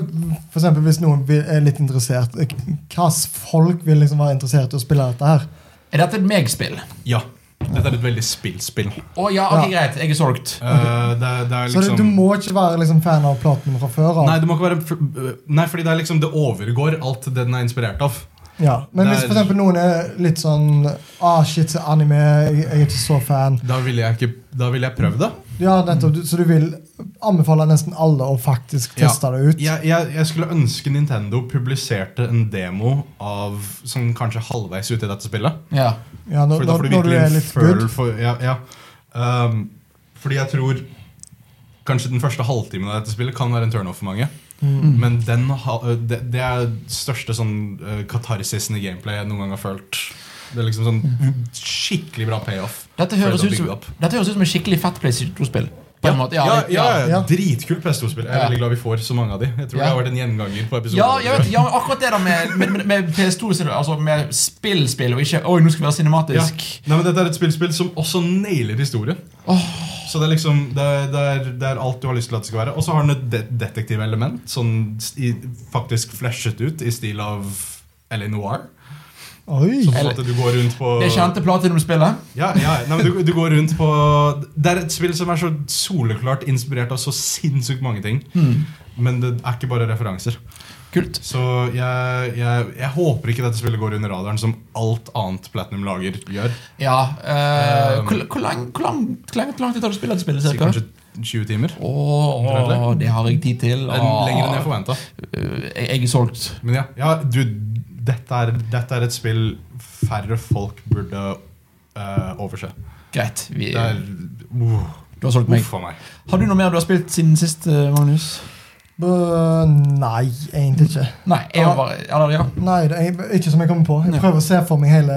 [SPEAKER 3] for eksempel, hvis noen vil- er litt interessert eh, Hva slags folk vil liksom være interessert i å spille dette her?
[SPEAKER 1] Er dette et meg-spill?
[SPEAKER 2] ja. Dette er et veldig spillspill.
[SPEAKER 1] Å ja, ok,
[SPEAKER 3] Ja.
[SPEAKER 1] greit. Jeg er solgt.
[SPEAKER 2] Eh, det, det er
[SPEAKER 3] Så
[SPEAKER 2] liksom
[SPEAKER 3] du, du må ikke være liksom, fan av platen fra før av?
[SPEAKER 2] Nei, det må ikke være f- Nei, fordi det er liksom Det overgår alt det den er inspirert av.
[SPEAKER 3] Ja, Men hvis
[SPEAKER 2] Nei.
[SPEAKER 3] for eksempel noen er litt sånn ah, shit, så anime, jeg, jeg er ikke så fan.
[SPEAKER 2] Da ville jeg, ikke, da ville jeg prøvd det.
[SPEAKER 3] Ja, nettopp, du- Så du vil anbefale nesten alle å faktisk
[SPEAKER 2] Ja.
[SPEAKER 3] teste det ut?
[SPEAKER 2] Jeg, jeg, jeg skulle ønske Nintendo publiserte en demo av, som kanskje halvveis ute i dette spillet.
[SPEAKER 1] Ja.
[SPEAKER 3] Ja, når,
[SPEAKER 2] For da får
[SPEAKER 3] når,
[SPEAKER 2] du
[SPEAKER 3] når du
[SPEAKER 2] virkelig
[SPEAKER 3] er
[SPEAKER 2] en
[SPEAKER 3] litt
[SPEAKER 2] føl
[SPEAKER 3] good.
[SPEAKER 2] for ja, ja. Um, Fordi jeg tror kanskje den første halvtimen av dette spillet kan være en turnoff for mange.
[SPEAKER 3] Mm.
[SPEAKER 2] Men den, ha- øh, det, det er største sånn øh, katarsisen i gameplay jeg noen gang har følt. Det er liksom sånn skikkelig bra payoff.
[SPEAKER 1] Dette
[SPEAKER 2] for
[SPEAKER 1] høres,
[SPEAKER 2] det å
[SPEAKER 1] ut som,
[SPEAKER 2] bygge opp.
[SPEAKER 1] dette høres ut som en skikkelig fett PlayStation 2-spill. På en måte.
[SPEAKER 2] ja, ja, ja,
[SPEAKER 3] ja.
[SPEAKER 2] Dritkult PS2-spill. Jeg er
[SPEAKER 1] Ja.
[SPEAKER 2] veldig glad vi får så mange av de. Jeg tror
[SPEAKER 1] Ja.
[SPEAKER 2] det har vært en gjenganger på episoden.
[SPEAKER 1] Ja, jeg vet, ja, men akkurat det da med, med, med- med PS2, sin- altså med spill-spill, og ikke 'oi, nå skal vi være cinematisk'.
[SPEAKER 2] Ja. Nei, men Dette er et spillspill som også nailer historie. Så det er liksom det er, det, er, det er alt du har lyst til at det skal være. Og så har den et de detektivelement, sånn s- i, faktisk fleshet ut i stil av L.A. Noir.
[SPEAKER 3] Oi!
[SPEAKER 2] Sånn at du går rundt på
[SPEAKER 1] Det kjente platinum-spillet.
[SPEAKER 2] Ja, ja, nei, men du, du går rundt på Det er et spill som er så soleklart inspirert av så sinnssykt mange ting. Men det er ikke bare referanser.
[SPEAKER 1] Kult.
[SPEAKER 2] Så jeg, jeg, jeg håper ikke dette spillet går under radaren, som alt annet Platinum lager gjør.
[SPEAKER 1] Ja. eh,
[SPEAKER 2] Um,
[SPEAKER 1] hvor, hvor, lang, hvor, lang, hvor lang- hvor lang tid tar det å spille dette spillet?
[SPEAKER 2] Så
[SPEAKER 1] Cirka?
[SPEAKER 2] Kanskje 20 timer.
[SPEAKER 1] Åh,
[SPEAKER 2] Omtrentlig.
[SPEAKER 1] det har jeg tid til.
[SPEAKER 2] Det er Lenger enn jeg forventa.
[SPEAKER 1] Uh, jeg, jeg er solgt.
[SPEAKER 2] Men ja, ja du, dette er, dette er et spill færre folk burde eh, overse.
[SPEAKER 1] Greit. Vi,
[SPEAKER 2] Det er uh,
[SPEAKER 1] du har solgt meg.
[SPEAKER 2] Uff a meg.
[SPEAKER 1] Har du noe mer du har spilt siden sist, eh, Magnus?
[SPEAKER 3] Bø, nei, egentlig ikke.
[SPEAKER 1] Nei, jeg har bare Eller, ja.
[SPEAKER 3] Nei, det er Ikke som jeg kommer på.
[SPEAKER 1] Nei.
[SPEAKER 3] Jeg prøver å se for meg hele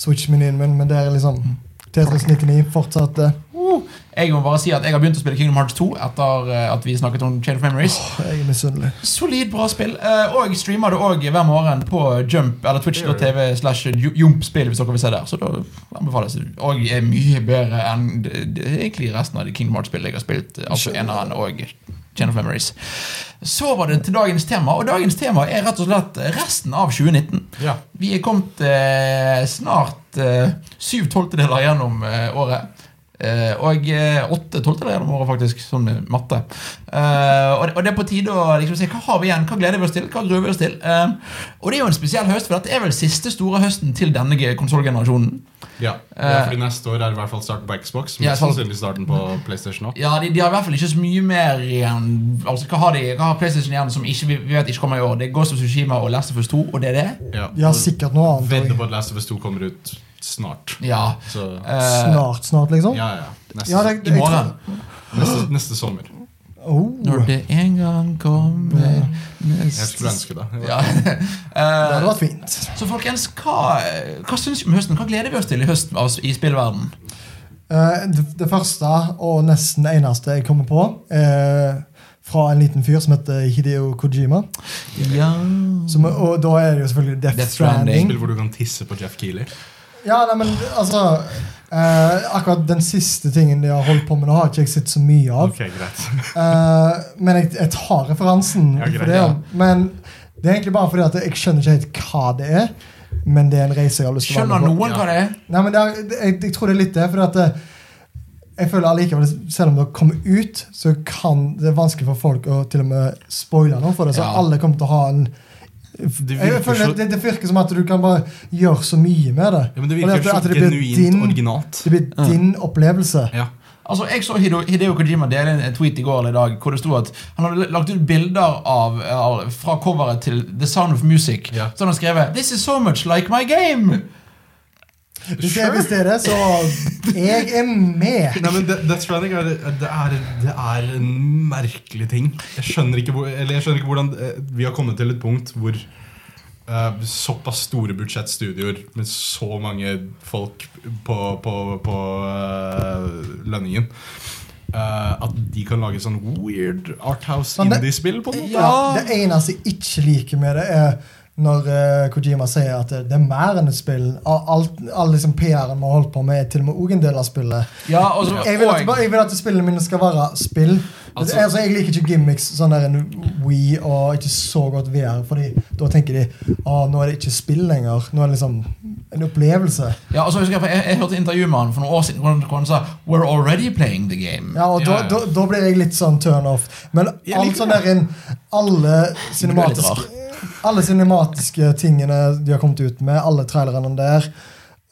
[SPEAKER 3] Switch-menyen min, men det er liksom
[SPEAKER 2] Mm.
[SPEAKER 3] Tetris 99 fortsatt eh,
[SPEAKER 1] Uh, jeg må bare si at jeg har begynt å spille Kingdom Hearts 2 etter eh, at vi snakket om Chain of Memories.
[SPEAKER 3] Jeg er misunnelig.
[SPEAKER 1] Solid, bra spill. Eh, og jeg streamer det òg hver morgen på Jump eller Twitch.tv slash Jump-spill, hvis dere vil se der. Så da anbefales det. Og er mye bedre enn det, det, er egentlig resten av de Kingdom Hearts-spillene jeg har spilt. eh, Altså eneren og Chain of Memories. Så var det til dagens tema, og dagens tema er rett og slett resten av 2019.
[SPEAKER 2] Ja.
[SPEAKER 1] Vi er kommet eh, snart eh, syv tolvtedeler gjennom eh, året. Eh, og eh, åtte tolvtedeler gjennom året, faktisk, sånn med matte. Eh, og, det, og det er på tide å liksom se hva har vi igjen, hva gleder vi oss til, hva gruer vi oss til. Eh, og det er jo en spesiell høst, for dette er vel siste store høsten til denne konsollgenerasjonen.
[SPEAKER 2] Ja. ja, fordi neste år er det i hvert fall starten på Xbox. Men
[SPEAKER 1] Ja, sant.
[SPEAKER 2] sannsynlig starten på PlayStation òg.
[SPEAKER 1] Ja, de, de har i hvert fall ikke så mye mer igjen. Altså, Hva har de? Hva har PlayStation igjen som ikke, vi, vi vet ikke kommer i år? Det er Ghost of Tsushima og Last of Us 2, og det er det?
[SPEAKER 2] Ja.
[SPEAKER 3] Ja, sikkert noe annet.
[SPEAKER 2] Vedder
[SPEAKER 3] også.
[SPEAKER 2] på at Last of Us 2 kommer ut snart.
[SPEAKER 1] Ja.
[SPEAKER 2] Så
[SPEAKER 1] Eh,
[SPEAKER 3] Snart, snart, liksom.
[SPEAKER 2] ja, ja. Neste,
[SPEAKER 3] Ja, det-
[SPEAKER 1] I morgen.
[SPEAKER 2] neste, neste sommer.
[SPEAKER 3] Oh.
[SPEAKER 1] Når det en gang kommer
[SPEAKER 2] Jeg skulle ønske det.
[SPEAKER 1] Ja.
[SPEAKER 3] Det
[SPEAKER 1] Eh,
[SPEAKER 3] hadde vært fint.
[SPEAKER 1] så folkens, hva, hva syns vi om høsten? Hva gleder vi oss til i høsten altså, i spillverden?
[SPEAKER 3] Eh, det, det første og nesten eneste jeg kommer på, er fra en liten fyr som heter Hideo Kojima.
[SPEAKER 1] Ja
[SPEAKER 3] Som, og da er det jo selvfølgelig Death,
[SPEAKER 1] Death Stranding.
[SPEAKER 3] Stranding.
[SPEAKER 2] Spill hvor du kan tisse på Jeff Keeley.
[SPEAKER 3] Ja, nei, men altså eh, Akkurat den siste tingen de har holdt på med, nå har ikke jeg sett så mye av.
[SPEAKER 2] Ok, greit.
[SPEAKER 3] Eh, men jeg, jeg tar referansen.
[SPEAKER 2] Ja, greit,
[SPEAKER 3] for det,
[SPEAKER 2] ja.
[SPEAKER 3] Men det er egentlig bare fordi at jeg skjønner ikke helt hva det er. Men det er en reise jeg har lyst til å
[SPEAKER 1] Skjønner
[SPEAKER 3] være med på.
[SPEAKER 1] noen hva det er?
[SPEAKER 3] Nei, men det er, det- jeg, jeg tror det er litt det. Fordi at eh, jeg føler allikevel Selv om det kommer ut, så kan det er vanskelig for folk å til og med spoile noe for det. Så
[SPEAKER 1] Ja.
[SPEAKER 3] alle kommer til å ha en
[SPEAKER 2] Det
[SPEAKER 3] jeg,
[SPEAKER 2] virker
[SPEAKER 3] føler
[SPEAKER 2] så-
[SPEAKER 3] det, det, det virker som at du kan bare gjøre så mye med det.
[SPEAKER 2] Ja, men det
[SPEAKER 3] Og
[SPEAKER 2] virker
[SPEAKER 3] at- at
[SPEAKER 2] så
[SPEAKER 3] det blir
[SPEAKER 2] genuint
[SPEAKER 3] din-
[SPEAKER 2] originalt.
[SPEAKER 3] Det blir din opplevelse.
[SPEAKER 2] Ja.
[SPEAKER 1] Altså, Jeg så Hideo, Hideo Kojima dele en tweet i går eller i dag hvor det sto at han hadde lagt ut bilder av, av fra coveret til The Sound of Music.
[SPEAKER 2] Ja.
[SPEAKER 1] Så hadde han skrevet 'This is so much like my game'.
[SPEAKER 3] Hvis jeg hvis det er det, så Jeg er med!
[SPEAKER 2] Nei, men Death Death Stranding er, det, er, det er en merkelig ting. Jeg skjønner ikke, hvor, eller jeg skjønner ikke hvordan eh, vi har kommet til et punkt hvor eh, eh, såpass store budsjettstudioer med så mange folk på, på, på eh, lønningen. eh, at de kan lage sånn weird arthouse
[SPEAKER 3] Men Sånn det-
[SPEAKER 2] indie-spill på noe.
[SPEAKER 3] Ja. Det eneste jeg ikke liker med det, er når eh, Kojima sier alt- alt- alt liksom PR-en vi har holdt på med, er til og med også en del av spillet. Ja,
[SPEAKER 1] Ja, og
[SPEAKER 3] det er mer enn et spill. Alt, all liksom PR-en vi har holdt på med, er til og med òg en del av spillet.
[SPEAKER 1] så-
[SPEAKER 3] Jeg vil, at,
[SPEAKER 1] og-
[SPEAKER 3] bare- jeg vil at spillene mine skal være spill. Altså,
[SPEAKER 2] Altså-
[SPEAKER 3] jeg liker ikke gimmicks sånn der en We og ikke så godt VR, Fordi da tenker de at nå er det ikke spill lenger. Nå er det liksom en opplevelse.
[SPEAKER 1] Ja, og så husker Jeg for jeg, jeg hørte intervju med han for noen år siden hvor han, hvor han sa We're already playing the game.
[SPEAKER 3] Ja, og
[SPEAKER 2] Ja,
[SPEAKER 3] da,
[SPEAKER 2] ja.
[SPEAKER 3] da, da blir jeg litt sånn turn off. Men
[SPEAKER 2] Jeg
[SPEAKER 3] alt
[SPEAKER 2] liker
[SPEAKER 3] sånn der inn Alle
[SPEAKER 1] litt
[SPEAKER 3] cinematiske Alle cinematiske tingene de har kommet ut med, alle trailerne der,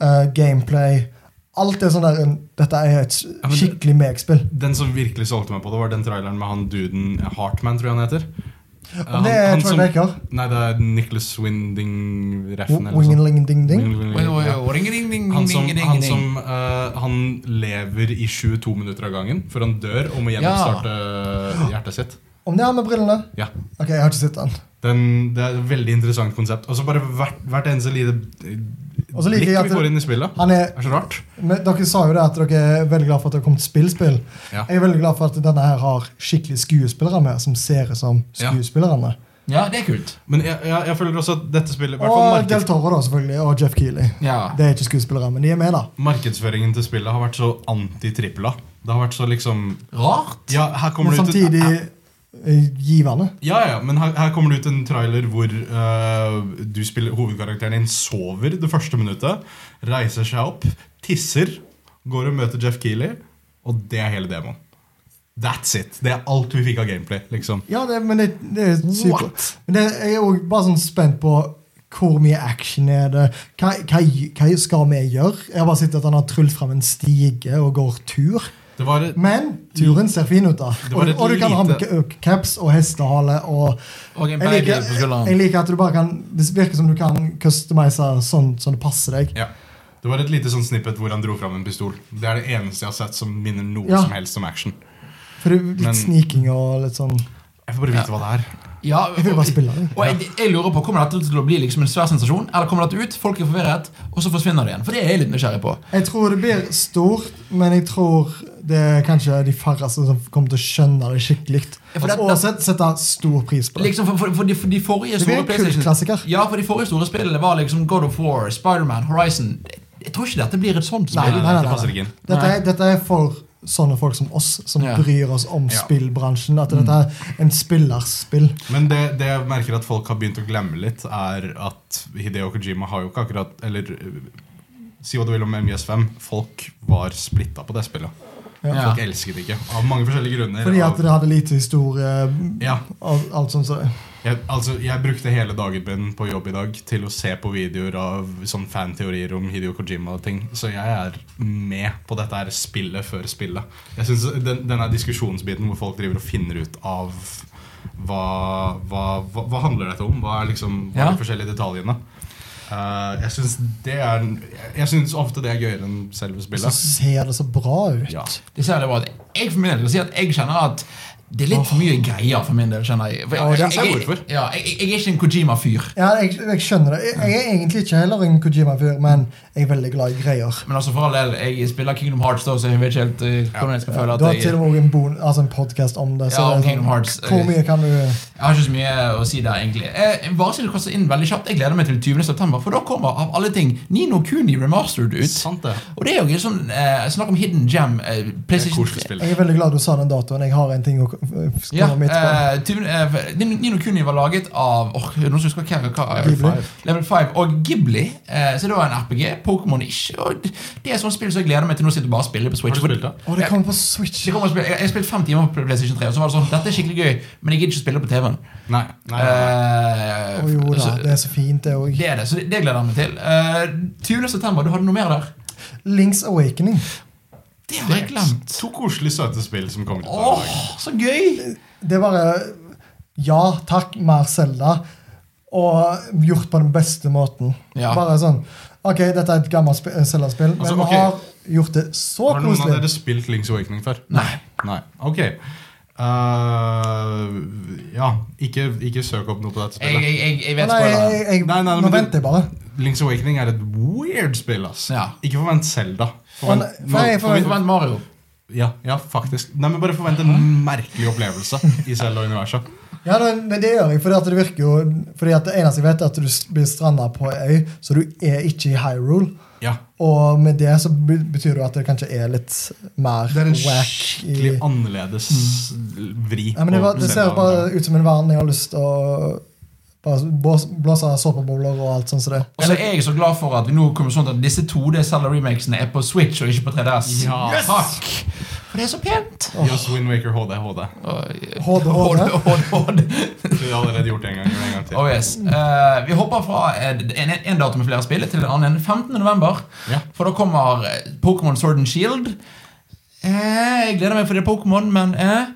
[SPEAKER 3] eh, gameplay Alt er sånn der inn, Dette er et
[SPEAKER 2] men det-
[SPEAKER 3] skikkelig megspill.
[SPEAKER 2] Den som virkelig solgte meg på det, var den traileren med han duden Hartman, tror jeg han heter. Eh,
[SPEAKER 3] Om det er Troy Baker.
[SPEAKER 2] Nei, det er Nicholas Winding Reffen. eller noe sånt.
[SPEAKER 3] Wingling-ding-ding.
[SPEAKER 2] Wing-
[SPEAKER 1] Oi,
[SPEAKER 2] Wing-
[SPEAKER 1] oi,
[SPEAKER 2] Mm. ja.
[SPEAKER 1] oi, ring, ring, ring,
[SPEAKER 2] Han som,
[SPEAKER 1] ring, ring,
[SPEAKER 2] han,
[SPEAKER 1] ring.
[SPEAKER 2] som eh, han lever i 22 minutter av gangen før han dør og må gjenoppstarte hjertet sitt.
[SPEAKER 3] Om det er med brillene?
[SPEAKER 2] Ja.
[SPEAKER 3] Ok, jeg har ikke sett den.
[SPEAKER 2] Den, det er et veldig interessant konsept. Og så bare hvert, hvert eneste lite
[SPEAKER 3] Og så liker
[SPEAKER 2] blikk
[SPEAKER 3] jeg at
[SPEAKER 2] vi får inn i spillet.
[SPEAKER 3] Han er,
[SPEAKER 2] Det er så rart.
[SPEAKER 3] men dere sa jo det at dere er veldig glad for at det har kommet spillspill.
[SPEAKER 2] Ja.
[SPEAKER 3] Jeg er veldig glad for at denne her har skikkelig skuespillere med, som ser ut som
[SPEAKER 2] Ja.
[SPEAKER 3] skuespillerne.
[SPEAKER 1] Ja, det er kult.
[SPEAKER 2] Men jeg, jeg, jeg føler også at dette spillet i hvert fall
[SPEAKER 3] Og
[SPEAKER 2] markeds,
[SPEAKER 3] Del Toro, da, selvfølgelig. Og Jeff Keeley.
[SPEAKER 1] Ja.
[SPEAKER 3] Det er ikke skuespillere, men de er med, da.
[SPEAKER 2] Markedsføringen til spillet har vært så anti-trippel A. Det har vært så liksom
[SPEAKER 1] Rart.
[SPEAKER 2] Ja, her kommer
[SPEAKER 3] Men
[SPEAKER 2] det ut en-
[SPEAKER 3] samtidig eh, givende.
[SPEAKER 2] Ja, ja, men her, her kommer det ut en trailer hvor eh, du spiller hovedkarakteren din sover det første minuttet, reiser seg opp, tisser, går og møter Jeff Keeley, og det er hele demoen. That's it. Det er alt vi fikk av gameplay. liksom.
[SPEAKER 3] Ja, det, men det, det er supert.
[SPEAKER 2] What?
[SPEAKER 3] Men det, jeg er òg bare sånn spent på hvor mye action er det? Hva, hva, hva skal vi gjøre? Jeg har bare sett at han har tryllet fram en stige og går tur.
[SPEAKER 2] Det var et,
[SPEAKER 3] Men turen ser fin ut, da.
[SPEAKER 2] Det var
[SPEAKER 3] Og,
[SPEAKER 2] et
[SPEAKER 3] og du kan ha med
[SPEAKER 2] lite-
[SPEAKER 3] ca- caps og hestehale. og...
[SPEAKER 1] Og en
[SPEAKER 3] Jeg
[SPEAKER 1] baby
[SPEAKER 3] liker,
[SPEAKER 1] på skulderen.
[SPEAKER 3] jeg liker at du bare kan Det virker som du kan customize sånn som det passer deg.
[SPEAKER 2] ja. det var et lite sånn snippet hvor han dro fram en pistol. Det er det eneste jeg har sett som minner noe
[SPEAKER 3] Ja.
[SPEAKER 2] som helst om action.
[SPEAKER 3] For det er litt
[SPEAKER 2] Men-
[SPEAKER 3] sniking og litt sånn
[SPEAKER 2] Jeg får bare vite hva det er.
[SPEAKER 1] Ja,
[SPEAKER 3] Jeg vil bare spille det.
[SPEAKER 1] Og jeg, jeg lurer på, Kommer dette til å bli liksom en svær sensasjon, eller kommer dette ut, folk er forvirret, og så forsvinner det igjen? For det er jeg litt nysgjerrig på.
[SPEAKER 3] Jeg tror det blir stort, men jeg tror det er kanskje de færreste som kommer til å skjønne det skikkelig.
[SPEAKER 1] Ja, for det-
[SPEAKER 3] og sett- sette stor pris på det.
[SPEAKER 1] Liksom for, for, for, de, for de forrige
[SPEAKER 3] Det blir
[SPEAKER 1] store
[SPEAKER 3] en kultklassiker.
[SPEAKER 1] PlayStation Ja, for de forrige store spillene var liksom God of War, Spiderman, Horizon. Jeg, jeg tror ikke dette blir et sånt
[SPEAKER 3] Nei,
[SPEAKER 1] spill.
[SPEAKER 3] nei, nei,
[SPEAKER 2] det passer
[SPEAKER 3] nei,
[SPEAKER 2] ikke
[SPEAKER 3] nei.
[SPEAKER 2] inn.
[SPEAKER 3] Dette, er, dette er for sånne folk som oss, som
[SPEAKER 1] Ja. Mm.
[SPEAKER 3] bryr oss om
[SPEAKER 2] Ja.
[SPEAKER 3] spillbransjen. At dette er en spillerspill.
[SPEAKER 2] Men det, det jeg merker at folk har begynt å glemme litt, er at Hideo Kojima har jo ikke akkurat Eller eh, si hva du vil om MGS5, folk var splitta på det spillet.
[SPEAKER 1] Ja.
[SPEAKER 2] Folk elsket det ikke. Av mange forskjellige grunner.
[SPEAKER 3] Fordi at
[SPEAKER 2] av,
[SPEAKER 3] det hadde lite historie
[SPEAKER 2] ja,
[SPEAKER 3] og alt sånt. Så.
[SPEAKER 2] jeg, altså, jeg brukte hele dagen min på jobb i dag til å se på videoer av sånn fanteorier om Hideo Kojima og ting. Så jeg er med på dette her spillet før spillet. Jeg synes den, Denne diskusjonsbiten hvor folk driver og finner ut av hva, hva, hva, hva handler dette om? Hva er liksom hva er
[SPEAKER 1] Ja.
[SPEAKER 2] de forskjellige detaljene? Eh, jeg syns det er Jeg synes ofte det er gøyere enn selve
[SPEAKER 3] så
[SPEAKER 2] spillet.
[SPEAKER 3] ser det så bra ut.
[SPEAKER 2] Ja.
[SPEAKER 1] Det ser jeg bra ut. Jeg for min del vil si at jeg kjenner at det er litt for mye greier for min del. kjenner jeg. For
[SPEAKER 3] Ja, det
[SPEAKER 1] jeg,
[SPEAKER 2] ser jeg
[SPEAKER 1] jeg,
[SPEAKER 2] hvorfor.
[SPEAKER 1] ja, jeg, jeg er ikke en Kojima-fyr.
[SPEAKER 3] Ja, jeg, jeg skjønner det. Jeg, jeg er egentlig ikke heller en Kojima-fyr, men jeg er veldig glad i greier.
[SPEAKER 1] Men altså for all del, jeg spiller Kingdom Hearts, da, så jeg vet ikke helt eh, hvordan jeg skal
[SPEAKER 3] Du
[SPEAKER 1] føle at
[SPEAKER 3] har
[SPEAKER 1] jeg
[SPEAKER 3] til og med en, bon altså en podkast om det. Så
[SPEAKER 1] Ja, om
[SPEAKER 3] det er sånn,
[SPEAKER 1] Kingdom Hearts.
[SPEAKER 2] eh,
[SPEAKER 3] Hvor mye kan du
[SPEAKER 1] Jeg har ikke så mye å si der, egentlig. Eh, bare si det kaster inn veldig kjapt. Jeg gleder meg til 20. september, for da kommer av alle ting Nino Kuni Remastered ut.
[SPEAKER 2] Sant det.
[SPEAKER 1] Og det er jo en sånn eh, Snakk om hidden gem. Eh,
[SPEAKER 2] Det er et
[SPEAKER 1] PlayStation
[SPEAKER 2] koselig
[SPEAKER 1] 3.
[SPEAKER 2] spill.
[SPEAKER 3] Jeg er veldig glad du sa den datoen. Jeg har en ting å øh, skrive
[SPEAKER 1] Ja,
[SPEAKER 3] mitt på.
[SPEAKER 1] eh, tyven- eh, Nino Nino Kuni var laget av åh, noen som husker hva, hva
[SPEAKER 3] Ghibli.
[SPEAKER 1] Level 5. Level 5 og Ghibli. Eh, så det var en RPG. Pokémon-ish. Og d- Det er sånn spill som jeg gleder meg til. Nå sitter jeg bare og spiller på Switch.
[SPEAKER 2] Har du spilt det?
[SPEAKER 3] Å, det kommer på Switch.
[SPEAKER 1] Jeg, kommer og spiller- jeg, jeg spilte fem timer på PlayStation 3, og så var det sånn Dette er skikkelig gøy, men jeg gidder ikke spille på TV-en.
[SPEAKER 2] Nei, nei, nei.
[SPEAKER 1] Eh,
[SPEAKER 3] Å jo
[SPEAKER 2] Altså,
[SPEAKER 3] da,
[SPEAKER 1] så-
[SPEAKER 3] det er så fint, det òg.
[SPEAKER 1] Det er det, så det, det gleder jeg meg til. Eh, 20. september, du hadde noe mer der?
[SPEAKER 3] Links Awakening.
[SPEAKER 1] Det har jeg glemt.
[SPEAKER 2] To koselige, søte spill som kommer ut.
[SPEAKER 1] Åh,
[SPEAKER 2] av dag.
[SPEAKER 1] så gøy!
[SPEAKER 3] Det er bare Ja takk, mer Selda. Og gjort på den beste måten.
[SPEAKER 1] Ja.
[SPEAKER 3] Bare sånn Ok, dette er et gammelt sp- eh, Zelda-spill, men
[SPEAKER 2] Altså, ok.
[SPEAKER 3] vi har gjort det så
[SPEAKER 2] Har noen av
[SPEAKER 3] koselig.
[SPEAKER 2] dere spilt Links Awakening før?
[SPEAKER 1] Nei.
[SPEAKER 2] Nei. Ok. Eh, Eh, ja, ikke, ikke søk opp noe på dette
[SPEAKER 1] Jeg,
[SPEAKER 2] spillet.
[SPEAKER 1] jeg, jeg, jeg vet
[SPEAKER 3] Nei, jeg,
[SPEAKER 1] spoileren.
[SPEAKER 3] jeg, jeg,
[SPEAKER 2] Nei, nei,
[SPEAKER 3] nå
[SPEAKER 2] men det-
[SPEAKER 3] venter jeg bare.
[SPEAKER 2] Link's Awakening er et weird spill, ass.
[SPEAKER 1] Ja.
[SPEAKER 2] Ikke forvent Zelda.
[SPEAKER 3] Men,
[SPEAKER 2] Forvent,
[SPEAKER 3] for jeg, for,
[SPEAKER 1] Forvent forvent Mario.
[SPEAKER 2] ja, ja, faktisk. Nei, men Bare forvent en merkelig opplevelse i Zelda-universet.
[SPEAKER 3] ja, men men det gjør jeg, fordi at det virker jo Fordi at det eneste jeg vet, er at du s- blir stranda på ei øy, så du er ikke i Hyrule.
[SPEAKER 2] Ja.
[SPEAKER 3] Og med det så be- betyr det jo at det kanskje er litt mer
[SPEAKER 2] Det er en
[SPEAKER 3] wack i
[SPEAKER 2] skikkelig annerledes vri.
[SPEAKER 3] ja, men det,
[SPEAKER 2] på
[SPEAKER 3] var, det ser
[SPEAKER 2] Zelda-universet.
[SPEAKER 3] bare ut som en verden jeg har lyst til å bare blåse- blåse såpebobler og alt sånt som det.
[SPEAKER 1] Og så er jeg så glad for at vi nå kommer sånn at disse 2D Zelda remakesene er på Switch og ikke på 3DS.
[SPEAKER 2] Ja. Yes!
[SPEAKER 1] Takk! For det er så pent.
[SPEAKER 2] Gi oss Wind Waker HD. HD.
[SPEAKER 3] HD.
[SPEAKER 2] Vi har allerede gjort det en gang. Gjør det en gang til.
[SPEAKER 1] Oh yes.
[SPEAKER 3] Mm.
[SPEAKER 1] Eh, vi hopper fra en, en, en dato med flere spill til en annen 15. november.
[SPEAKER 2] Ja.
[SPEAKER 1] For da kommer eh, Pokémon Sword and Shield. Eh, jeg gleder meg for det er Pokémon, men eh,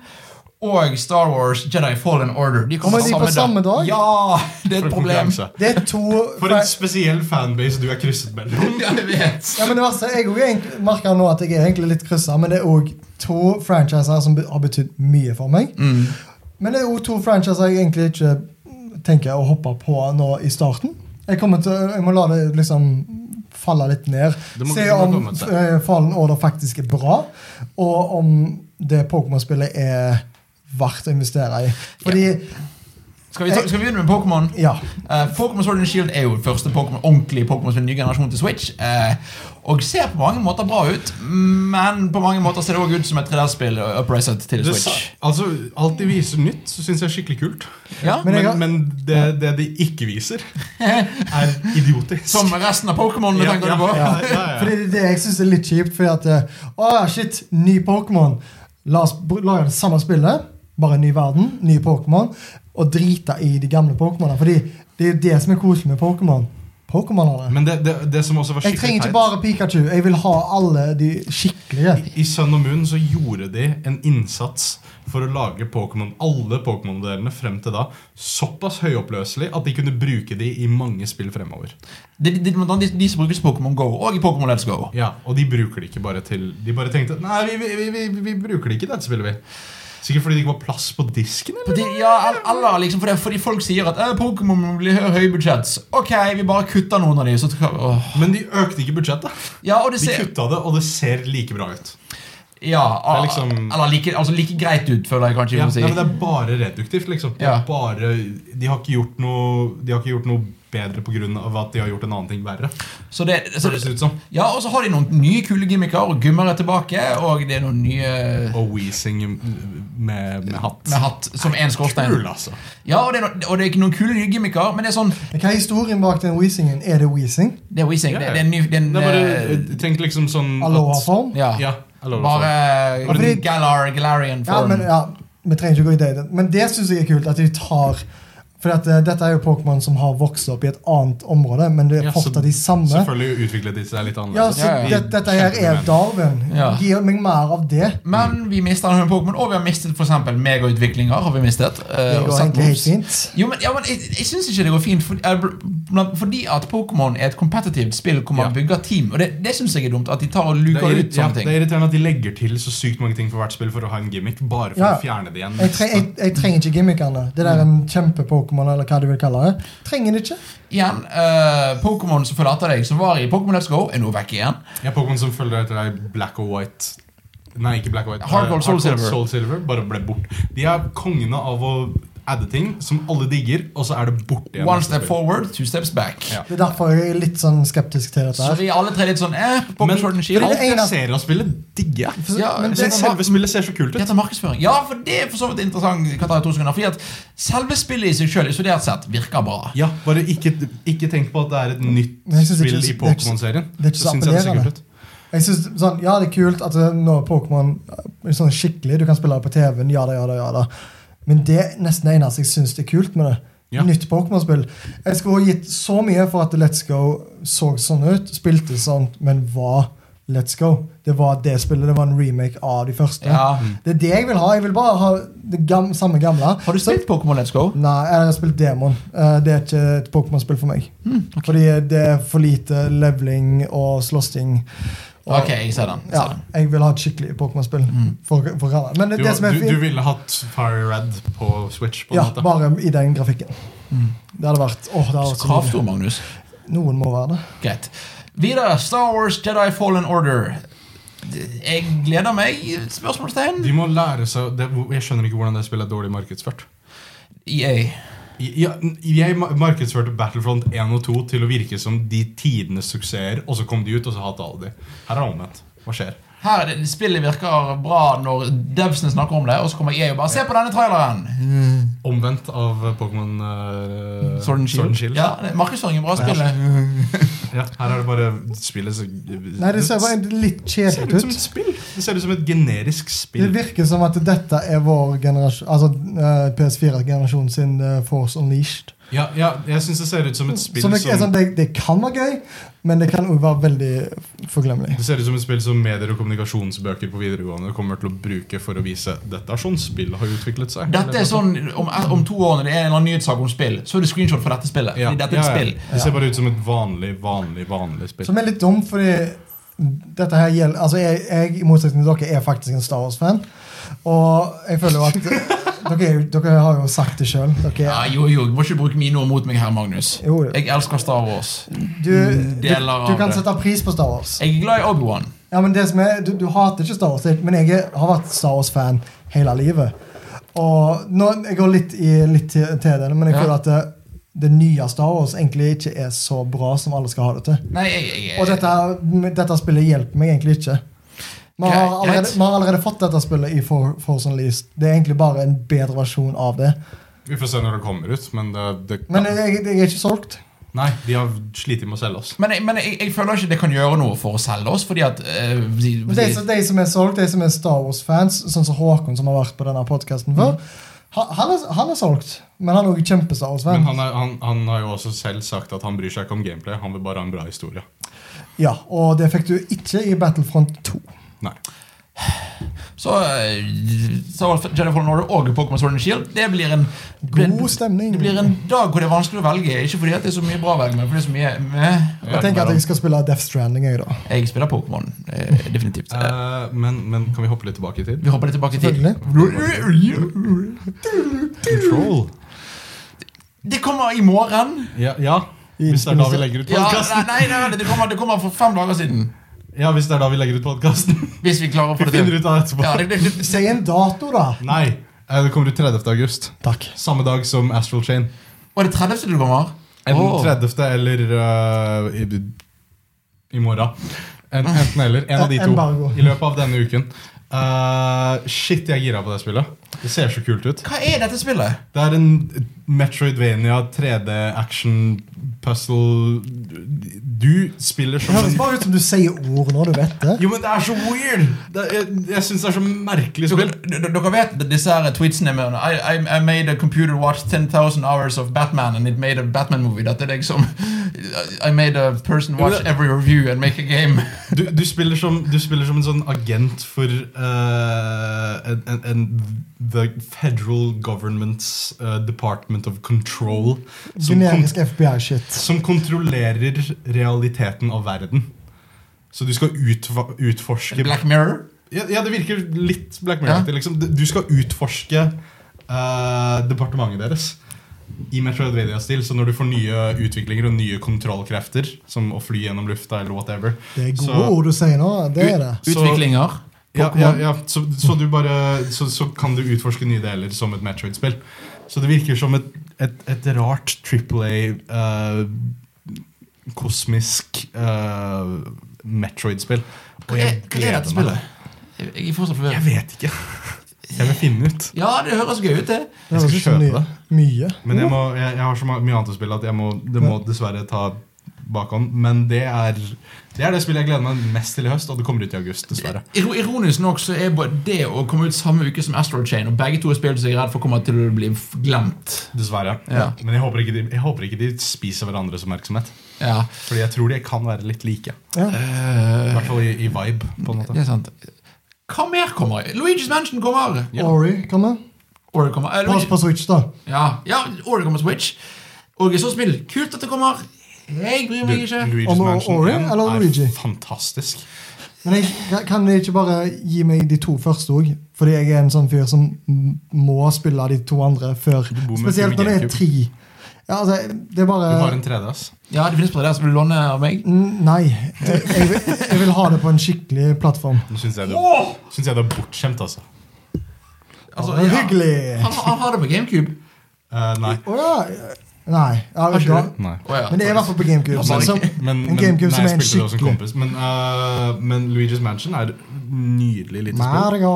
[SPEAKER 1] Og Star Wars Jedi Fallen Order. De
[SPEAKER 3] Kommer de på samme dag?
[SPEAKER 1] Ja! Det er
[SPEAKER 2] For
[SPEAKER 1] et
[SPEAKER 2] en
[SPEAKER 1] problem.
[SPEAKER 2] konkurranse.
[SPEAKER 3] Det er to
[SPEAKER 2] For en spesiell fanbase du er krysset mellom.
[SPEAKER 1] Ja, jeg vet.
[SPEAKER 3] Ja, men det verste, jeg også merker nå at jeg er egentlig litt kryssa, men det er òg to franchiser som be- har betydd mye for meg.
[SPEAKER 1] Mm.
[SPEAKER 3] Men det er òg to franchiser jeg egentlig ikke tenker å hoppe på nå i starten. Jeg, kommer til, jeg må la det liksom falle litt ned.
[SPEAKER 2] Det må-
[SPEAKER 3] Se
[SPEAKER 2] det må
[SPEAKER 3] om
[SPEAKER 2] komme til.
[SPEAKER 3] eh, Fallen Order faktisk er bra, og om det Pokémon-spillet er verdt å investere i. Fordi
[SPEAKER 1] Skal vi,
[SPEAKER 3] Eh.
[SPEAKER 1] ta, skal vi begynne med Pokémon?
[SPEAKER 3] Ja.
[SPEAKER 1] Eh, Pokémon Sword and Shield er jo første Pokémon, ordentlige Pokémon som en ny generasjon til Switch. eh, og ser på mange måter bra ut, men på mange måter ser det også ut som et 3D-spill uppreset til
[SPEAKER 2] Det,
[SPEAKER 1] Switch.
[SPEAKER 2] altså, alt de viser nytt, så syns jeg er skikkelig kult.
[SPEAKER 1] Ja,
[SPEAKER 2] Men,
[SPEAKER 3] Men jeg har-
[SPEAKER 2] men det, det de ikke viser, er idiotisk.
[SPEAKER 1] Som resten av Pokémon.
[SPEAKER 2] Ja,
[SPEAKER 1] tenker du på?
[SPEAKER 2] ja, ja, ja.
[SPEAKER 3] Fordi det, er det jeg syns er litt kjipt. Fordi at eh, Å, shit, ny Pokémon. La oss br- lage det samme spillet, bare ny verden, ny Pokémon, og drite i de gamle Pokémonene. Fordi det er jo det som er koselig med Pokémon. Pokémonene.
[SPEAKER 2] Men det, det, det som også var
[SPEAKER 3] Jeg
[SPEAKER 2] skikkelig
[SPEAKER 3] trenger ikke
[SPEAKER 2] teit
[SPEAKER 3] bare Pikachu. Jeg vil ha alle de skikkelige.
[SPEAKER 2] I Sun og Moon så gjorde de en innsats for å lage Pokémon, alle Pokémon-modellene frem til da såpass høyoppløselig at de kunne bruke de i mange spill fremover.
[SPEAKER 1] De, de, de, de, de som brukes i Pokémon Go og i Pokémon Let's Go.
[SPEAKER 2] Ja, Og de bruker det ikke bare til De bare tenkte Nei, vi, vi, vi, vi, vi bruker det ikke i dette spillet, vi. Sikkert fordi det ikke var plass på disken, eller?
[SPEAKER 1] Fordi, ja, el- eller liksom fordi, fordi folk sier at eh, Pokémon må bli hø- høybudsjetts. Ok, vi bare kutter noen av de. Så, skal- åh.
[SPEAKER 2] Men de økte ikke budsjettet.
[SPEAKER 1] ja, og det
[SPEAKER 2] De
[SPEAKER 1] ser
[SPEAKER 2] kutta det, og det ser like bra ut.
[SPEAKER 1] ja,
[SPEAKER 2] er
[SPEAKER 1] ah,
[SPEAKER 2] liksom-
[SPEAKER 1] Eller like, altså, like greit ut, føler jeg kanskje. vi
[SPEAKER 2] Ja,
[SPEAKER 1] må si.
[SPEAKER 2] nei, men det er bare reduktivt, liksom. Det er
[SPEAKER 1] Ja.
[SPEAKER 2] bare, de, har ikke gjort noe, de har ikke gjort noe bedre pga. at de har gjort en annen ting verre.
[SPEAKER 1] Så det, så,
[SPEAKER 2] Føles det ut som.
[SPEAKER 1] ja, og så har de noen nye kule gimmicker, og gummer er tilbake. Og det er noen nye
[SPEAKER 2] Og Weezing med, med hatt.
[SPEAKER 1] med hatt som én skorstein.
[SPEAKER 2] Kul, altså.
[SPEAKER 1] Ja, og det, er no, og det er ikke noen kule nye gimmicker, men det er sånn
[SPEAKER 3] Men Hva er historien bak den wheezingen? Er det wheezing?
[SPEAKER 1] Det er Weezing. Det, det er en ny det er en,
[SPEAKER 2] Det er bare,
[SPEAKER 1] eh,
[SPEAKER 2] tenk liksom sånn at-
[SPEAKER 3] Aloha-form?
[SPEAKER 1] ja.
[SPEAKER 2] Ja, aloha
[SPEAKER 1] Bare
[SPEAKER 3] Ja, fordi-
[SPEAKER 1] Galar, Galarian
[SPEAKER 3] Ja,
[SPEAKER 1] form.
[SPEAKER 3] men ja, vi trenger ikke gå i det. Men det syns jeg er kult, at de tar For at, eh, dette er jo Pokémon som har vokst opp i et annet område, men det er
[SPEAKER 2] Ja, så-
[SPEAKER 3] fortsatt de samme.
[SPEAKER 2] Selvfølgelig utviklet de seg litt
[SPEAKER 3] Ja,
[SPEAKER 2] annerledes.
[SPEAKER 3] så
[SPEAKER 1] Ja, ja.
[SPEAKER 3] Det, dette her er
[SPEAKER 2] Kjempevenn.
[SPEAKER 3] Darwin.
[SPEAKER 1] Ja.
[SPEAKER 3] Gi meg mer av det.
[SPEAKER 1] Men vi mister en Pokémon, og vi har mistet for eksempel megautviklinger. har vi mistet. eh,
[SPEAKER 3] Det
[SPEAKER 1] og
[SPEAKER 3] går
[SPEAKER 1] satt
[SPEAKER 3] egentlig
[SPEAKER 1] moves.
[SPEAKER 3] helt fint.
[SPEAKER 1] Jo, men, ja, men Jeg, jeg syns ikke det går fint, for, eh, blant- fordi at Pokémon er et kompetitivt spill hvor man
[SPEAKER 2] Ja.
[SPEAKER 1] bygger team. Og det, det syns jeg er dumt, at de tar og
[SPEAKER 2] Det
[SPEAKER 1] luker
[SPEAKER 2] er,
[SPEAKER 1] ut
[SPEAKER 2] irri- ja,
[SPEAKER 1] sånne
[SPEAKER 2] det
[SPEAKER 1] ting.
[SPEAKER 2] er irriterende at de legger til så sykt mange ting for hvert spill for å ha en gimmick. Bare for
[SPEAKER 3] Ja.
[SPEAKER 2] å fjerne det igjen.
[SPEAKER 3] Jeg, treng, jeg, jeg trenger ikke gimmickene. Det der er en kjempe-Pokémon, eller hva du vil kalle det. Trenger det ikke.
[SPEAKER 1] Igjen, eh, Pokémon som følger etter deg, som var i Pokémon Let's Go, er nå vekk igjen.
[SPEAKER 2] Jeg er Pokémon som følger etter deg Black og White. Nei, ikke Black og White.
[SPEAKER 1] Hard Gold, Soul
[SPEAKER 2] Hard Gold,
[SPEAKER 1] Silver.
[SPEAKER 2] Soul Silver bare ble bort. De er kongene av å adde ting som alle digger, og så er det borte igjen.
[SPEAKER 1] One
[SPEAKER 2] neste
[SPEAKER 1] step
[SPEAKER 2] spill.
[SPEAKER 1] forward, two steps back.
[SPEAKER 2] Ja.
[SPEAKER 3] Det er derfor jeg er litt sånn skeptisk til dette
[SPEAKER 1] Så
[SPEAKER 3] her.
[SPEAKER 1] vi er alle tre litt sånn eh, Pokémon
[SPEAKER 2] Men
[SPEAKER 1] Sword and Shield.
[SPEAKER 3] Fordi
[SPEAKER 2] alt
[SPEAKER 3] det
[SPEAKER 2] jeg
[SPEAKER 3] eneste-
[SPEAKER 2] ser av spillet, digger jeg.
[SPEAKER 1] Ja,
[SPEAKER 2] Jeg
[SPEAKER 3] men
[SPEAKER 1] det-
[SPEAKER 2] synes selve spillet ser så kult ut.
[SPEAKER 1] Det heter markedsføring. Ja, for det er for så vidt interessant. Kan ta i to sekunder, fordi at Selve spillet i seg sjøl isolert sett virker bra.
[SPEAKER 2] Ja, bare ikke, ikke tenk på at det er et nytt
[SPEAKER 3] Men jeg synes
[SPEAKER 2] spill
[SPEAKER 3] ikke-
[SPEAKER 2] i
[SPEAKER 3] det er ikke-
[SPEAKER 2] Pokémon-serien.
[SPEAKER 3] det er ikke så
[SPEAKER 2] synes jeg det ser
[SPEAKER 3] appellerende.
[SPEAKER 2] kult ut.
[SPEAKER 3] Jeg synes, sånn, Ja, det er kult at eh, nå er Pokémon eh, sånn skikkelig. Du kan spille det på TV-en. Ja da, ja da, ja da. Men det er nesten det eneste jeg syns er kult med det.
[SPEAKER 2] Ja.
[SPEAKER 3] Nytt Pokémon-spill. Jeg skulle gitt så mye for at Let's Go så sånn ut, spilte sånn, men var Let's Go. Det var det spillet. Det var en remake av de første.
[SPEAKER 1] Ja.
[SPEAKER 3] Det er det jeg vil ha. Jeg vil bare ha det gam samme gamle.
[SPEAKER 1] Har du spilt Pokémon Let's Go?
[SPEAKER 3] Nei, jeg har spilt Demon. Eh, Det er ikke et
[SPEAKER 1] Hmm,
[SPEAKER 3] Pokémon-spill for meg. Fordi det er for lite leveling og slåssing. Og-
[SPEAKER 1] Ok, jeg ser den. Jeg
[SPEAKER 3] Ja,
[SPEAKER 1] ser den.
[SPEAKER 3] jeg vil ha et skikkelig Pokémon-spill. For, for alle. Men det,
[SPEAKER 2] Du,
[SPEAKER 3] det som er
[SPEAKER 2] du, du
[SPEAKER 3] fint,
[SPEAKER 2] ville hatt Fire Red på Switch? på en
[SPEAKER 3] ja,
[SPEAKER 2] måte.
[SPEAKER 3] bare i den grafikken. Det hadde vært åh, det hadde vært så
[SPEAKER 1] Kraftord, Magnus.
[SPEAKER 3] nydelig. Noen må være det.
[SPEAKER 1] Greit. Videre. Star Wars Jedi Fallen Order. Jeg gleder meg. Spørsmålstegn?
[SPEAKER 2] De må lære seg det, Jeg skjønner ikke hvordan det spillet er dårlig markedsført.
[SPEAKER 1] EA.
[SPEAKER 2] Ja, Jeg ma- markedsførte Battlefront 1 og 2 til å virke som de tidenes suksesser, og så kom de ut, og så hata alle de. Her er det omvendt. Hva skjer?
[SPEAKER 1] Her, det- Spillet virker bra når devsene snakker om det, og så kommer EA og bare 'Se på denne traileren!'
[SPEAKER 2] Omvendt av eh, Pokémon eh,
[SPEAKER 1] Sword and Shield. Ja, det- Markedsføring er bra spill.
[SPEAKER 2] Ja, her er det bare spillet som
[SPEAKER 3] Nei, det ser bare litt
[SPEAKER 2] Det ser ut
[SPEAKER 3] kjedelig
[SPEAKER 2] som
[SPEAKER 3] ut.
[SPEAKER 2] et spill. Det ser ut som et generisk
[SPEAKER 3] Det
[SPEAKER 2] spill.
[SPEAKER 3] virker som at dette er vår generasjon Altså PS4-generasjonen sin eh, Force Unleashed.
[SPEAKER 2] Ja, ja jeg syns det ser ut som et spill
[SPEAKER 3] Som
[SPEAKER 2] som,
[SPEAKER 3] det, er sånn, det, det kan være gøy, men det kan òg være veldig forglemmelig.
[SPEAKER 2] Det ser ut som et spill som medier og kommunikasjonsbøker på videregående kommer til å bruke for å vise dette er sånn spill har utviklet seg.
[SPEAKER 1] Dette er sånn, om, om to år når det er en eller annen nyhetssak om spill, så er det screenshot fra dette spillet.
[SPEAKER 2] Ja,
[SPEAKER 1] Fordi dette er et
[SPEAKER 2] ja, ja.
[SPEAKER 1] spill.
[SPEAKER 2] Det ser bare ut som et vanlig, vanlig, vanlig spill.
[SPEAKER 3] Som er litt dumt, fordi dette her gjelder Altså, jeg, jeg i motsetning til dere, er faktisk en Star Wars-fan. Og jeg føler jo at dere, er jo- dere har jo sagt det sjøl.
[SPEAKER 1] Ja, jo, jo, du må ikke bruke mine ord mot meg her, Magnus.
[SPEAKER 3] Jo, jo.
[SPEAKER 1] Jeg elsker Star Wars.
[SPEAKER 3] Du, du,
[SPEAKER 1] Deler av
[SPEAKER 3] du kan
[SPEAKER 1] det.
[SPEAKER 3] sette pris på Star Wars.
[SPEAKER 1] Jeg er glad i Obi-Wan.
[SPEAKER 3] Ja, men det som er, du, du hater ikke Star Wars, jeg- men jeg er- har vært Star Wars-fan hele livet. Og nå, Jeg går litt, i, litt til, til det, men jeg
[SPEAKER 1] Ja.
[SPEAKER 3] føler at det, det nye Star Wars egentlig ikke er så bra som alle skal ha det til.
[SPEAKER 1] Nei, jeg, jeg, jeg
[SPEAKER 3] Og dette, dette spillet hjelper meg egentlig ikke. Vi har,
[SPEAKER 1] Greit.
[SPEAKER 3] allerede, vi har allerede fått dette spillet i For, Force Unleashed. Det er egentlig bare en bedre versjon av det.
[SPEAKER 2] Vi får se når det kommer ut, men det, det
[SPEAKER 3] Men jeg, jeg er ikke solgt.
[SPEAKER 2] Nei, de har slitt med å selge oss.
[SPEAKER 1] Men, jeg, men jeg, jeg føler ikke det kan gjøre noe for å selge oss, fordi at eh, de,
[SPEAKER 3] Men De, som- de som er solgt, de som er Star Wars-fans, sånn som Håkon, som har vært på denne podkasten før, han, han, er, han er solgt. Men han er også kjempe-Star
[SPEAKER 2] Men
[SPEAKER 3] Wars-fan.
[SPEAKER 2] han, er, han, han har jo også selv sagt at han bryr seg ikke om gameplay, han vil bare ha en bra historie.
[SPEAKER 3] Ja, Og det fikk du ikke i Battlefront 2.
[SPEAKER 2] Nei.
[SPEAKER 1] Så eh, Star Wars Jedi Fallen Order og Pokémon Sword and Shield Det blir en
[SPEAKER 3] God stemning.
[SPEAKER 1] Det blir en dag hvor det er vanskelig å velge. Ikke fordi at det er så mye bra å velge, men fordi det er så mye meh.
[SPEAKER 3] Jeg tenker at jeg skal spille Death Stranding, jeg, da.
[SPEAKER 1] Jeg spiller Pokémon, eh, definitivt. Eh,
[SPEAKER 2] Eh, men, men kan vi hoppe litt tilbake i tid?
[SPEAKER 1] Vi hopper litt tilbake i tid.
[SPEAKER 2] Control.
[SPEAKER 1] Det kommer i morgen.
[SPEAKER 2] Ja, ja. Hvis det er da vi legger ut
[SPEAKER 1] Ja,
[SPEAKER 2] podkasten.
[SPEAKER 1] nei, nei, nei, det kommer, det kommer for fem dager siden.
[SPEAKER 2] Ja, hvis det er da vi legger ut podkasten.
[SPEAKER 1] Hvis vi klarer å
[SPEAKER 2] Vi
[SPEAKER 1] få det
[SPEAKER 2] finner
[SPEAKER 1] til.
[SPEAKER 2] ut av det etterpå.
[SPEAKER 1] Ja, det, det, det,
[SPEAKER 3] Si en dato, da.
[SPEAKER 2] Nei, eh, det kommer ut 30. august.
[SPEAKER 3] Takk.
[SPEAKER 2] Samme dag som Astral Chain.
[SPEAKER 1] og det 30. du kommer?
[SPEAKER 2] Enten
[SPEAKER 1] Åh.
[SPEAKER 2] 30. eller eh, i, i morgen. En, enten eller. En av de
[SPEAKER 3] Embargo.
[SPEAKER 2] to. I løpet av denne uken. Eh, shit, jeg er gira på det spillet. Det ser så kult ut.
[SPEAKER 1] Hva er dette spillet?
[SPEAKER 2] Det er en Metroidvania 3D-action-puzzle Du spiller
[SPEAKER 3] Det
[SPEAKER 2] som
[SPEAKER 3] høres
[SPEAKER 2] en
[SPEAKER 3] bare ut som du sier ord når du vet det.
[SPEAKER 2] Jo, men det er så weird! Det, jeg jeg syns det er så merkelig
[SPEAKER 1] Dere,
[SPEAKER 2] spill.
[SPEAKER 1] d- dere vet disse her tweetsene med I, I, I made a computer watch 10,000 hours of Batman and it made a Batman movie. Dette er liksom I made a person watch every review and make a game.
[SPEAKER 2] Du, du, spiller som, du spiller som en sånn agent for eh, en, en, en The Federal Government's eh, Department of Control. Som, kon
[SPEAKER 3] Generisk FBI-shit.
[SPEAKER 2] som kontrollerer realiteten av verden. Så du skal utva utforske
[SPEAKER 1] Black Mirror.
[SPEAKER 2] ja, ja, det virker litt Black Mirror-aktig. Liksom. Du- Du skal utforske eh, departementet deres i Metroidvania-stil. Så når du får nye utviklinger og nye kontrollkrefter, som å fly gjennom lufta eller whatever
[SPEAKER 3] Det er gode
[SPEAKER 2] så-
[SPEAKER 3] ord du sier nå. Det er det.
[SPEAKER 2] Så-
[SPEAKER 1] Utviklinger.
[SPEAKER 2] ja,
[SPEAKER 1] Pokémon.
[SPEAKER 2] ja, ja. Så, så, du bare, så, så kan du utforske nye deler som et Metroid-spill. Så det virker som et, et, et rart Triple A eh, kosmisk eh, Metroid-spill. Og
[SPEAKER 1] Hva er,
[SPEAKER 2] jeg
[SPEAKER 1] hva er
[SPEAKER 2] gleder
[SPEAKER 1] dette
[SPEAKER 2] meg.
[SPEAKER 1] spillet? Jeg jeg er fortsatt
[SPEAKER 2] Jeg
[SPEAKER 1] forvirret.
[SPEAKER 2] vet ikke. Jeg vil finne ut.
[SPEAKER 1] Ja, det høres gøy ut, det.
[SPEAKER 3] Det høres
[SPEAKER 2] skal
[SPEAKER 3] ut som
[SPEAKER 2] kjøpe
[SPEAKER 3] mye. mye.
[SPEAKER 2] Men jeg, må, jeg, jeg har så ma- mye annet å spille at jeg må, det må dessverre ta bakhånd. Men det er, det er det spillet jeg gleder meg mest til i høst, og det kommer ut i august. dessverre
[SPEAKER 1] Iro- Ironisk nok så er både det å komme ut samme uke som Astro Chain, og begge to er spill som jeg er redd for kommer til å bli f- glemt.
[SPEAKER 2] Dessverre.
[SPEAKER 1] Ja.
[SPEAKER 2] Men jeg håper, ikke de, jeg håper ikke de spiser hverandres oppmerksomhet.
[SPEAKER 1] Ja,
[SPEAKER 2] Fordi jeg tror de kan være litt like.
[SPEAKER 3] Ja.
[SPEAKER 2] I hvert fall i, i vibe. på en måte
[SPEAKER 1] det er sant. Hva mer kommer? Luigi's Mansion kommer!
[SPEAKER 2] Ja.
[SPEAKER 3] Ori kommer.
[SPEAKER 1] Or det kommer eh,
[SPEAKER 3] Pass
[SPEAKER 1] Luigi-
[SPEAKER 3] på Switch, da.
[SPEAKER 1] Ja, ja og det kommer Switch. Og så spill. Kult at det kommer. Jeg bryr
[SPEAKER 2] Du,
[SPEAKER 1] meg ikke.
[SPEAKER 2] Luigi's
[SPEAKER 3] Om
[SPEAKER 2] Mansion
[SPEAKER 3] Ori
[SPEAKER 2] 1
[SPEAKER 3] eller
[SPEAKER 2] er
[SPEAKER 3] Luigi?
[SPEAKER 2] fantastisk.
[SPEAKER 3] Men jeg kan jeg ikke bare gi meg de to første òg? Fordi jeg er en sånn fyr som m- må spille de to andre før.
[SPEAKER 2] Du bor med
[SPEAKER 3] Spesielt når det er
[SPEAKER 2] Gamecube.
[SPEAKER 3] tre. Ja, altså, det er bare
[SPEAKER 2] Du har en 3D, ass.
[SPEAKER 1] Ja, det finnes på det der, så vil du låne av meg?
[SPEAKER 3] N- Nei. Jeg, jeg, vil- jeg vil ha det på en skikkelig plattform.
[SPEAKER 2] Nå syns jeg, det-
[SPEAKER 1] Åh!
[SPEAKER 2] synes jeg det er bortskjemt, altså.
[SPEAKER 1] Altså,
[SPEAKER 3] det er
[SPEAKER 1] ja,
[SPEAKER 3] hyggelig!
[SPEAKER 1] han, han har det på GameCube.
[SPEAKER 2] Eh, nei.
[SPEAKER 3] Å ja. Nei. Ja,
[SPEAKER 1] Har ikke
[SPEAKER 3] da.
[SPEAKER 1] du?
[SPEAKER 2] nei.
[SPEAKER 1] Å ja.
[SPEAKER 3] Men det er i hvert fall på GameCube.
[SPEAKER 1] Altså,
[SPEAKER 3] så- Som,
[SPEAKER 2] Men,
[SPEAKER 3] en
[SPEAKER 2] men,
[SPEAKER 3] GameCube som
[SPEAKER 2] nei,
[SPEAKER 3] er en
[SPEAKER 2] jeg spilte det også som
[SPEAKER 3] skikkelig
[SPEAKER 2] kompis. Men, eh, men Luigi's Mansion er nydelig lite spill.
[SPEAKER 3] Mario,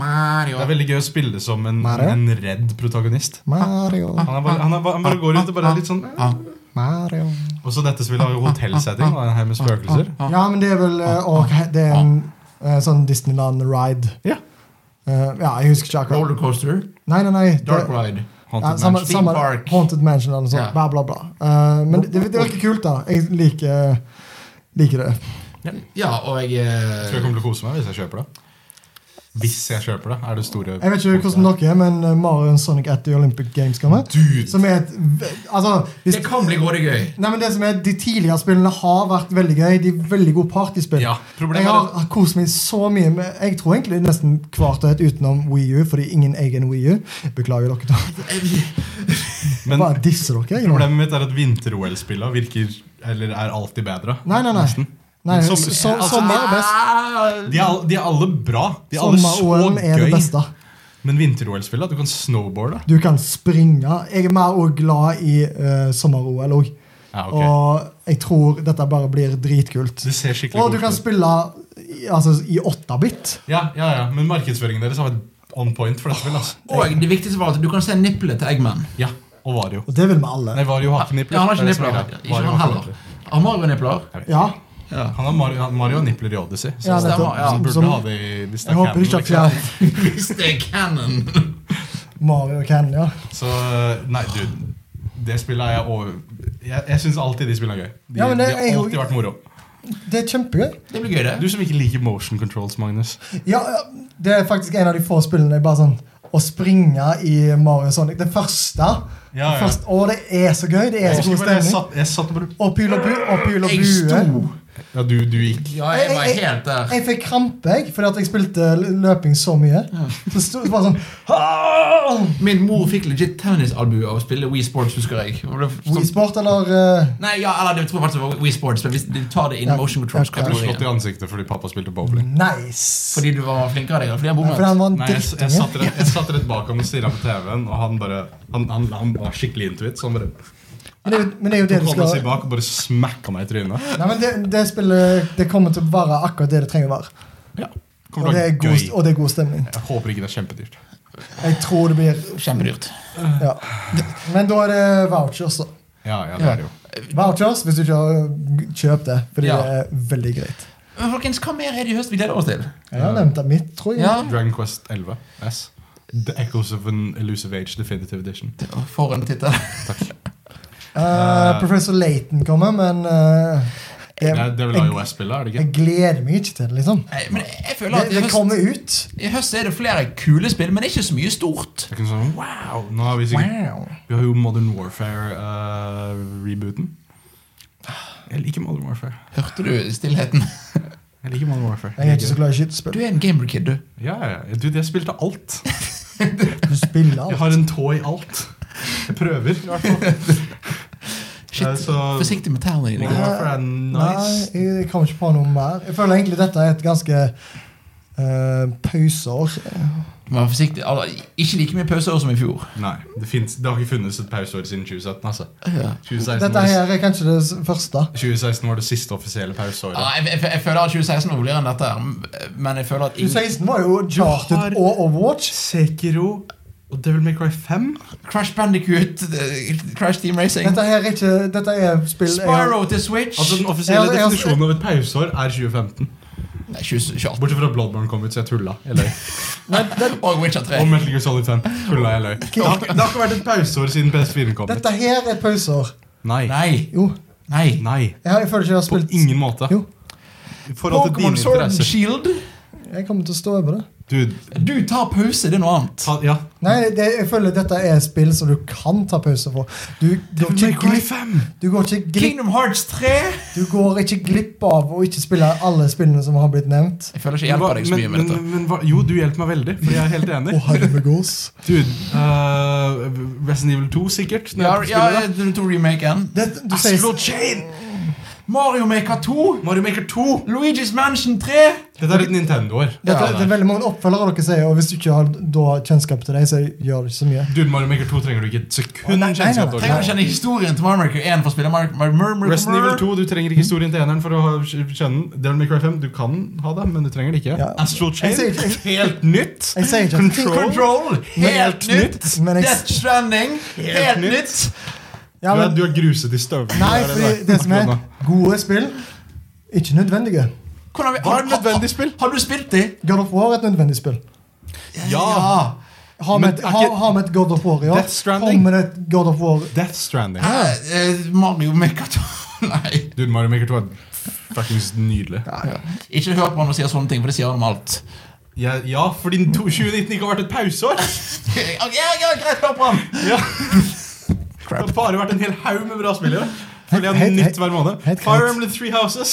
[SPEAKER 1] Mario.
[SPEAKER 2] Det er veldig gøy å spille som en,
[SPEAKER 3] Mario?
[SPEAKER 2] en redd protagonist.
[SPEAKER 3] Mario,
[SPEAKER 2] Han, er bare, han, er, bare- han bare går rundt og bare er litt sånn
[SPEAKER 1] Ah,
[SPEAKER 3] Mario
[SPEAKER 2] Og så dette spillet har jo hotellsetting. da, Her med spøkelser.
[SPEAKER 3] Ja, men det er vel eh, å, hva- Det er en eh, sånn Disneyland-ride. Eh,
[SPEAKER 2] Ja.
[SPEAKER 3] ja, jeg husker ikke akkurat.
[SPEAKER 1] Rollercoaster.
[SPEAKER 3] Nei, nei, nei. det-
[SPEAKER 1] Dark Ride.
[SPEAKER 3] Ja,
[SPEAKER 2] Haunted
[SPEAKER 3] samme,
[SPEAKER 2] Mansion.
[SPEAKER 3] samme,
[SPEAKER 1] Theme park.
[SPEAKER 3] Haunted Mansion eller noe sånt.
[SPEAKER 1] Ja.
[SPEAKER 3] Bla, bla, bla. Eh, men det, det virker kult, da. Jeg liker, liker det.
[SPEAKER 1] Ja, og jeg eh,
[SPEAKER 2] Tror jeg kommer til å kose meg hvis jeg kjøper det. Hvis jeg kjøper det, er det store
[SPEAKER 3] Jeg vet ikke hvordan dere er, men eh, Mario and Sonic at the Olympic Games kommer.
[SPEAKER 2] Dude!
[SPEAKER 3] Som er et ve- Altså hvis,
[SPEAKER 1] Det kan bli gode gøy.
[SPEAKER 3] Nei, men det som er, De tidligere spillene har vært veldig gøy. De er veldig gode partyspill.
[SPEAKER 2] Ja,
[SPEAKER 3] Jeg
[SPEAKER 2] problemet
[SPEAKER 3] har
[SPEAKER 2] er
[SPEAKER 3] har kost meg så mye med Jeg tror egentlig nesten hvert og et utenom Wii U, fordi ingen egen Wii U. Beklager dere. da.
[SPEAKER 2] Men
[SPEAKER 3] Bare disse dere. jeg nå.
[SPEAKER 2] problemet mitt er at vinter-OL-spillene virker Eller er alltid bedre.
[SPEAKER 3] Nei, nei, nei.
[SPEAKER 2] Nesten.
[SPEAKER 3] nei
[SPEAKER 2] Som-
[SPEAKER 3] så, så, sommer er best.
[SPEAKER 1] Ah,
[SPEAKER 2] De er, all- de er alle bra. De er alle
[SPEAKER 3] Sommer-OL er det
[SPEAKER 2] så gøy.
[SPEAKER 3] beste.
[SPEAKER 2] Men vinter-OL-spillene, du kan snowboarde.
[SPEAKER 3] Du kan springe. Jeg er mer også glad i eh, sommer-OL òg.
[SPEAKER 2] Ja, ok.
[SPEAKER 3] Og jeg tror dette bare blir dritkult.
[SPEAKER 2] Det ser skikkelig
[SPEAKER 3] Og du
[SPEAKER 2] godt ut.
[SPEAKER 3] kan spille i- altså, i åttabit.
[SPEAKER 2] Ja, ja, ja, Men markedsføringen deres har vært on point for dette spillet. Altså.
[SPEAKER 1] Og det viktigste var at du kan se nippelet til Eggman.
[SPEAKER 2] Ja, og Vario.
[SPEAKER 3] Og det vil vi alle.
[SPEAKER 2] Nei, Vario har ikke nippler.
[SPEAKER 1] Ja, han har ikke
[SPEAKER 2] Det er det som
[SPEAKER 1] nippler.
[SPEAKER 2] er greia.
[SPEAKER 1] Ikke
[SPEAKER 2] Vario
[SPEAKER 1] han
[SPEAKER 2] har ikke
[SPEAKER 1] heller. Har Mario nippler?
[SPEAKER 3] Ja,
[SPEAKER 1] Ja.
[SPEAKER 2] Han har Mario, han- Mario har nippler i Odyssey. Så
[SPEAKER 3] ja
[SPEAKER 1] stemmer,
[SPEAKER 3] nettopp.
[SPEAKER 1] ja.
[SPEAKER 2] han burde
[SPEAKER 3] Som,
[SPEAKER 2] ha det i hvis det
[SPEAKER 3] jeg
[SPEAKER 2] er canon,
[SPEAKER 3] håper ikke at
[SPEAKER 2] liksom.
[SPEAKER 3] jeg,
[SPEAKER 1] Hvis det er canon.
[SPEAKER 3] Mario kan, ja.
[SPEAKER 2] Så nei, dude. Det spillet er jeg over... Jeg, jeg syns alltid de spillene er gøy. De,
[SPEAKER 3] Ja, men det
[SPEAKER 2] de har
[SPEAKER 3] er jo-
[SPEAKER 2] alltid vært moro.
[SPEAKER 3] Det er kjempegøy.
[SPEAKER 1] Det blir gøy, det.
[SPEAKER 2] Du som ikke liker motion controls, Magnus.
[SPEAKER 3] Ja, ja, det er faktisk en av de få spillene jeg bare sånn Å springe i Mario Sonic. Det første.
[SPEAKER 2] Ja, ja.
[SPEAKER 3] Det første å, det er så gøy. Det er
[SPEAKER 2] Jeg,
[SPEAKER 3] så
[SPEAKER 2] husker
[SPEAKER 3] god
[SPEAKER 2] bare jeg,
[SPEAKER 3] stemning.
[SPEAKER 2] satt, jeg satt og bare
[SPEAKER 3] Og pil og bu, og pil og
[SPEAKER 1] Jeg
[SPEAKER 2] eh?
[SPEAKER 3] bue.
[SPEAKER 1] sto.
[SPEAKER 2] Ja, du, du gikk.
[SPEAKER 1] Ja, jeg var
[SPEAKER 3] Jeg- jeg-
[SPEAKER 1] helt der.
[SPEAKER 3] Jeg fikk krampe jeg, fordi at jeg spilte l- løping så mye. Så sto det bare sånn «Åh!»
[SPEAKER 1] Min mor fikk legit tennisalbue av å spille Wii Sports, husker jeg. Og det- sånn-
[SPEAKER 3] Wii Sport eller eh,
[SPEAKER 1] Nei, ja, eller jeg tror faktisk det var Wii Sports, men hvis du tar det inn
[SPEAKER 3] Ja,
[SPEAKER 1] motion
[SPEAKER 3] jeg tror
[SPEAKER 2] Jeg ble
[SPEAKER 1] control
[SPEAKER 2] slått i ansiktet fordi pappa spilte bowling.
[SPEAKER 3] Nice!
[SPEAKER 1] Fordi du var flinkere enn deg, eller fordi han
[SPEAKER 3] Ja, for
[SPEAKER 1] bommet.
[SPEAKER 3] han var en
[SPEAKER 2] Nei, jeg, jeg,
[SPEAKER 3] Mm, drittunge.
[SPEAKER 2] satt rett, jeg satt rett bak ham og stirra på TV-en, og han bare Han, han, han var skikkelig into it. Så han bare
[SPEAKER 3] Men det er jo- Men det er jo det du
[SPEAKER 2] kom seg
[SPEAKER 3] skal
[SPEAKER 2] bak og bare smakka meg i trynet.
[SPEAKER 3] Nei, men det, det spillet det kommer til å være akkurat det det trenger å være.
[SPEAKER 2] Ja.
[SPEAKER 3] Og
[SPEAKER 2] Kommer
[SPEAKER 3] det,
[SPEAKER 2] til å
[SPEAKER 3] er
[SPEAKER 2] være
[SPEAKER 3] god,
[SPEAKER 2] gøy.
[SPEAKER 3] og det er god stemning.
[SPEAKER 2] Jeg håper ikke det er kjempedyrt.
[SPEAKER 3] Jeg tror det blir
[SPEAKER 1] Kjempedyrt.
[SPEAKER 3] Ja. Men da er det vouchers, da.
[SPEAKER 2] Ja, ja, det er det jo.
[SPEAKER 3] Vouchers hvis du ikke har kjøpt det, fordi
[SPEAKER 1] Ja.
[SPEAKER 3] det er veldig greit.
[SPEAKER 1] Men folkens, hva mer er det i høst vi gleder oss til?
[SPEAKER 3] Jeg har nevnt det mitt, tror jeg.
[SPEAKER 1] Ja,
[SPEAKER 2] Dragon Quest 11 S. The Echoes of an Elusive Age Definitive Edition.
[SPEAKER 1] For en tittel.
[SPEAKER 3] Eh, Professor Layton kommer, men eh,
[SPEAKER 2] Det
[SPEAKER 3] jeg,
[SPEAKER 2] er, det er vel
[SPEAKER 3] jeg,
[SPEAKER 2] iOS-spillet, er det ikke?
[SPEAKER 3] jeg gleder meg ikke til det, liksom.
[SPEAKER 1] Nei, Men jeg føler
[SPEAKER 3] Det,
[SPEAKER 1] at i
[SPEAKER 3] det
[SPEAKER 1] høst,
[SPEAKER 3] kommer ut.
[SPEAKER 1] i høst er det flere kule spill, men ikke så mye stort.
[SPEAKER 2] Jeg kunne sånn, wow, nå har vi, sikkert,
[SPEAKER 3] Wow.
[SPEAKER 2] vi har jo Modern eh, Warfare-rebooten. jeg liker Modern Warfare.
[SPEAKER 1] Hørte du stillheten?
[SPEAKER 2] Jeg liker Modern Warfare.
[SPEAKER 3] Jeg er ikke så glad i skytespill.
[SPEAKER 1] Du er en gamerkid, du.
[SPEAKER 2] Ja, ja, ja. Dude, jeg spilte alt.
[SPEAKER 3] Du spiller
[SPEAKER 2] Jeg
[SPEAKER 3] alt.
[SPEAKER 2] har en tå i alt. Jeg prøver, i hvert fall.
[SPEAKER 1] Shit,
[SPEAKER 2] Eh, så-
[SPEAKER 1] Forsiktig med tærne dine.
[SPEAKER 2] Modern Warfare er nice.
[SPEAKER 3] Nei, jeg kommer ikke på noe mer. Jeg føler egentlig dette er et ganske eh, pauseår.
[SPEAKER 1] Vær forsiktig. Altså, ikke like mye pauser som i fjor.
[SPEAKER 2] Nei, det, finnes, det har ikke funnes et pauseår siden 2017, altså.
[SPEAKER 1] Ja.
[SPEAKER 2] 2016
[SPEAKER 3] Dette
[SPEAKER 2] var det,
[SPEAKER 3] her er kanskje det s- første.
[SPEAKER 2] 2016 var det siste offisielle pauseåret.
[SPEAKER 1] Ja, jeg, jeg, jeg føler at 2016 var roligere enn dette, her, men jeg føler at ingen,
[SPEAKER 3] 2016 var jo Charted og Overwatch.
[SPEAKER 2] Sekiro og Devil May Cry 5.
[SPEAKER 1] Crash Bandicoot, eh, Crash Team Racing,
[SPEAKER 3] Dette her er ikke Dette er spill jeg har-
[SPEAKER 1] Spyro til Switch
[SPEAKER 2] Altså Den offisielle
[SPEAKER 3] Jeg- jeg-
[SPEAKER 2] definisjonen av et pauseår er 2015.
[SPEAKER 1] Nei, 2018.
[SPEAKER 2] Bortsett fra at Bloodborne kom ut, så jeg tulla. Jeg løy.
[SPEAKER 1] Og Witcher 3.
[SPEAKER 2] Og Metal Gear Solid 5. Tulla, jeg løy. Det har, ikke- det har ikke vært et pauseår siden PS4 kom ut.
[SPEAKER 3] Dette her er et pauseår.
[SPEAKER 2] Nei.
[SPEAKER 1] Nei.
[SPEAKER 3] Jo.
[SPEAKER 1] Nei.
[SPEAKER 2] Nei.
[SPEAKER 3] Jeg, har, jeg føler ikke jeg har
[SPEAKER 2] På
[SPEAKER 3] spilt
[SPEAKER 2] ingen måte.
[SPEAKER 3] Jo.
[SPEAKER 2] I forhold til
[SPEAKER 1] Pokémon
[SPEAKER 2] dine
[SPEAKER 1] Sword and
[SPEAKER 2] interesser.
[SPEAKER 1] Shield.
[SPEAKER 3] Jeg kommer til å stå over det.
[SPEAKER 2] Dude,
[SPEAKER 1] Du tar pause, det er noe annet.
[SPEAKER 2] ta, ja.
[SPEAKER 3] Nei, det, jeg føler dette er et spill som du kan ta pause for. Du, du, går, ikke glipp,
[SPEAKER 2] 5!
[SPEAKER 3] du går ikke glipp
[SPEAKER 1] Kingdom Hearts 3!
[SPEAKER 3] Du går ikke glipp av å ikke spille alle spillene som har blitt nevnt.
[SPEAKER 1] Jeg føler ikke jeg hjelper deg så mye med
[SPEAKER 2] men,
[SPEAKER 1] dette.
[SPEAKER 2] men, men hva- jo, du hjelper meg veldig, Fordi jeg er helt enig.
[SPEAKER 3] Å, herregos.
[SPEAKER 2] Dude, eh, Resident Evil 2, sikkert. når
[SPEAKER 1] Ja,
[SPEAKER 2] jeg
[SPEAKER 1] ja,
[SPEAKER 2] spiller det.
[SPEAKER 1] den to remaken.
[SPEAKER 3] Det- du sier-
[SPEAKER 2] Astral Chain!
[SPEAKER 1] Mario Maker 2!
[SPEAKER 2] Mario Maker 2!
[SPEAKER 1] Luigi's Mansion 3!
[SPEAKER 2] Dette er litt Nintendo-år.
[SPEAKER 3] Dette,
[SPEAKER 1] Ja,
[SPEAKER 3] det er veldig mange oppfølgere dere sier, og hvis du ikke har da kjennskap til dem, så gjør det ikke så mye.
[SPEAKER 2] Dude, Mario Maker 2 trenger du ikke et
[SPEAKER 3] Å,
[SPEAKER 2] sekund
[SPEAKER 3] nei, nei, nei,
[SPEAKER 2] kjennskap
[SPEAKER 1] Trenger
[SPEAKER 2] til.
[SPEAKER 1] du kjenne historien til Mario Maker 1 for å spille Mario Mario Mario
[SPEAKER 2] Resident Evil
[SPEAKER 1] Mario
[SPEAKER 2] 2, du trenger ikke historien til eneren for å ha- kjenne den. Devil May Cry 5, du kan ha det, men du trenger det ikke.
[SPEAKER 3] Ja.
[SPEAKER 2] Astral Chain,
[SPEAKER 3] Jeg sier-
[SPEAKER 2] helt nytt.
[SPEAKER 3] Jeg sier ikke at-
[SPEAKER 2] Control.
[SPEAKER 1] Control! Helt
[SPEAKER 3] Helt
[SPEAKER 1] nytt!
[SPEAKER 3] Men jeg-
[SPEAKER 1] Death Stranding! Helt
[SPEAKER 2] nytt.
[SPEAKER 1] nytt!
[SPEAKER 2] Du
[SPEAKER 3] Ja,
[SPEAKER 2] er,
[SPEAKER 3] men,
[SPEAKER 2] du er gruset i støvlene.
[SPEAKER 3] nei,
[SPEAKER 2] Det er
[SPEAKER 3] fordi
[SPEAKER 2] det der.
[SPEAKER 3] det som er
[SPEAKER 2] Akkurat nå.
[SPEAKER 3] gode spill, ikke nødvendige.
[SPEAKER 1] Hvordan vi-
[SPEAKER 2] Var det
[SPEAKER 1] har- har-
[SPEAKER 2] nødvendig spill?
[SPEAKER 1] Har du spilt de?
[SPEAKER 3] God of War er et nødvendig spill.
[SPEAKER 2] Ja!
[SPEAKER 3] Har vi
[SPEAKER 2] Men
[SPEAKER 3] et,
[SPEAKER 2] er
[SPEAKER 3] har,
[SPEAKER 2] ikke-
[SPEAKER 3] har vi et God of War i år?
[SPEAKER 2] Death Stranding?
[SPEAKER 3] Kommer det et God of War
[SPEAKER 2] Death Stranding.
[SPEAKER 1] Eh, eh, Mario Maker 2 Nei.
[SPEAKER 2] Dude, Mario Maker 2 er fuckings nydelig.
[SPEAKER 1] Ikke hør på han og sier sånne ting, for det sier han om alt.
[SPEAKER 2] Ja, ja fordi to- 2019 ikke har vært et pauseår.
[SPEAKER 1] Ja, ja, greit, hør på han!
[SPEAKER 2] Ja. Det har bare vært en hel haug med bra spill i år. Fordi jeg
[SPEAKER 3] Helt-
[SPEAKER 2] har
[SPEAKER 3] helt-
[SPEAKER 2] nytt hver måned.
[SPEAKER 3] helt greit.
[SPEAKER 2] Fire Emblem Three Houses.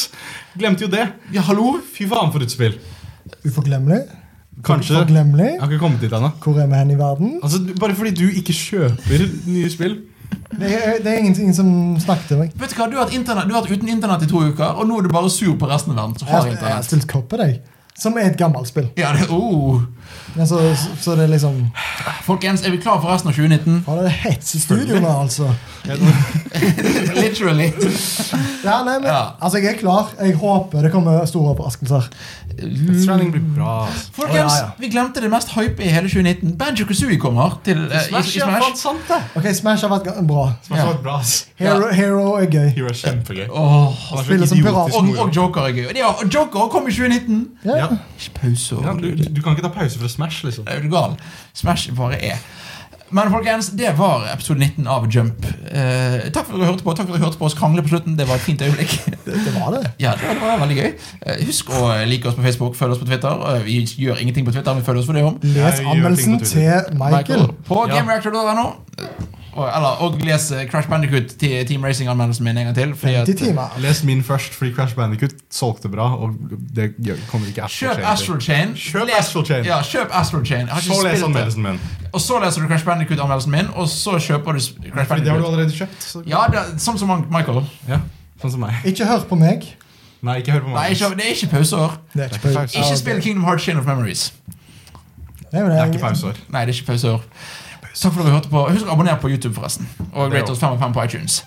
[SPEAKER 2] Glemte jo det.
[SPEAKER 1] Ja, hallo?
[SPEAKER 2] Fy faen, for et spill.
[SPEAKER 3] uforglemmelig?
[SPEAKER 2] Kanskje. Jeg
[SPEAKER 3] Uforglemmelig?
[SPEAKER 2] har ikke kommet dit ennå.
[SPEAKER 3] Hvor er vi hen i verden?
[SPEAKER 2] Altså, du- bare fordi du ikke kjøper nye spill.
[SPEAKER 3] Det er, det er ingenting som snakker til meg.
[SPEAKER 1] Vet Du hva, du har, hatt internett, du har vært uten internett i to uker, og nå er du bare sur på resten av verden som
[SPEAKER 3] Jeg har
[SPEAKER 1] har
[SPEAKER 3] jeg har
[SPEAKER 1] internett.
[SPEAKER 3] spilt Copper, jeg. Som er et gammelt spill.
[SPEAKER 1] Ja, det, oh.
[SPEAKER 3] Men så, så det er liksom
[SPEAKER 1] Folkens, er vi klar for resten av 2019?
[SPEAKER 3] Har dere hets i studio nå, altså?
[SPEAKER 1] Literally.
[SPEAKER 3] Ja, nei, men,
[SPEAKER 1] Ja.
[SPEAKER 3] altså, jeg er klar. Jeg håper det kommer store overraskelser.
[SPEAKER 2] Death Stranding blir bra. altså.
[SPEAKER 1] Folkens,
[SPEAKER 3] Å, ja, ja.
[SPEAKER 1] vi glemte det mest hype i hele 2019. Banjo Kazooie kommer til eh, i- i
[SPEAKER 2] Smash er faen
[SPEAKER 1] Smash.
[SPEAKER 2] sant, det.
[SPEAKER 3] Ok, Smash har vært ga- bra.
[SPEAKER 2] Smash har vært bra, ass.
[SPEAKER 3] Hero, Hero er gøy.
[SPEAKER 2] Hero er kjempegøy.
[SPEAKER 1] Åh,
[SPEAKER 2] Han er så
[SPEAKER 3] Spiller som
[SPEAKER 2] idiotisk
[SPEAKER 3] pirat.
[SPEAKER 1] og,
[SPEAKER 2] moro.
[SPEAKER 1] og Joker er gøy. Og det er- Og Joker kom i 2019!
[SPEAKER 3] Ja.
[SPEAKER 2] Ja.
[SPEAKER 1] Ikke pause
[SPEAKER 2] Ja,
[SPEAKER 1] og
[SPEAKER 2] du, du kan ikke ta pause fra Smash, liksom.
[SPEAKER 1] Er du gal? Smash bare er. Men folkens, det var episode 19 av Jump. Eh, takk for at dere hørte på Takk for at dere hørte på oss krangle på slutten. Det var et fint øyeblikk.
[SPEAKER 3] Det, det var det.
[SPEAKER 1] ja, det var, det var veldig gøy Eh, Husk å like oss på Facebook, følg oss på Twitter. Eh, vi gjør ingenting på Twitter, men følg oss for det om.
[SPEAKER 3] Les
[SPEAKER 2] Jeg gjør ting
[SPEAKER 3] anmeldelsen
[SPEAKER 2] på
[SPEAKER 3] til
[SPEAKER 2] Twitter.
[SPEAKER 3] Michael.
[SPEAKER 1] På
[SPEAKER 2] Ja.
[SPEAKER 1] gamereactor.no. Og, eller, og les eh, Crash Bandicoot til Team Racing-anmeldelsen min en gang til. Fordi
[SPEAKER 3] Til
[SPEAKER 1] at,
[SPEAKER 3] timer.
[SPEAKER 2] Les min først, fordi Crash Bandicoot solgte bra. Og det gjør- kommer ikke Astral
[SPEAKER 1] kjøp
[SPEAKER 2] Chain til.
[SPEAKER 1] Astral Chain.
[SPEAKER 2] Kjøp
[SPEAKER 1] Les-
[SPEAKER 2] Astral Chain.
[SPEAKER 1] Ja, kjøp Astral Chain. Jeg har ikke
[SPEAKER 2] Så les
[SPEAKER 1] spilt det.
[SPEAKER 2] anmeldelsen min.
[SPEAKER 1] Og så leser du Crash Bandicoot-anmeldelsen min, og så kjøper du s- Crash
[SPEAKER 2] Fordi det har du
[SPEAKER 1] Bandicoot.
[SPEAKER 2] allerede kjøpt. Så.
[SPEAKER 1] Ja, det, er- sånn som han- Michael.
[SPEAKER 2] Ja, Sånn som meg.
[SPEAKER 3] Ikke hør på meg.
[SPEAKER 2] Nei, ikke hør på
[SPEAKER 1] Nei,
[SPEAKER 2] meg.
[SPEAKER 1] ikke, det er ikke pauseår.
[SPEAKER 3] Det
[SPEAKER 2] Det
[SPEAKER 3] er ikke
[SPEAKER 2] er ikke
[SPEAKER 3] pause.
[SPEAKER 2] pause.
[SPEAKER 1] Ikke spill Kingdom Hearts Chain of Memories.
[SPEAKER 3] Nei, men
[SPEAKER 2] Det
[SPEAKER 3] det
[SPEAKER 2] er
[SPEAKER 3] er-
[SPEAKER 2] ikke pauseår.
[SPEAKER 1] Nei, det er ikke pauseår. Takk for at dere hørte på. Husk å abonnere på YouTube, forresten. Og
[SPEAKER 2] Det
[SPEAKER 1] rate
[SPEAKER 2] også.
[SPEAKER 1] oss 5 av 5 på iTunes.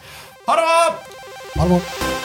[SPEAKER 1] Ha det bra!
[SPEAKER 3] Ha det bra.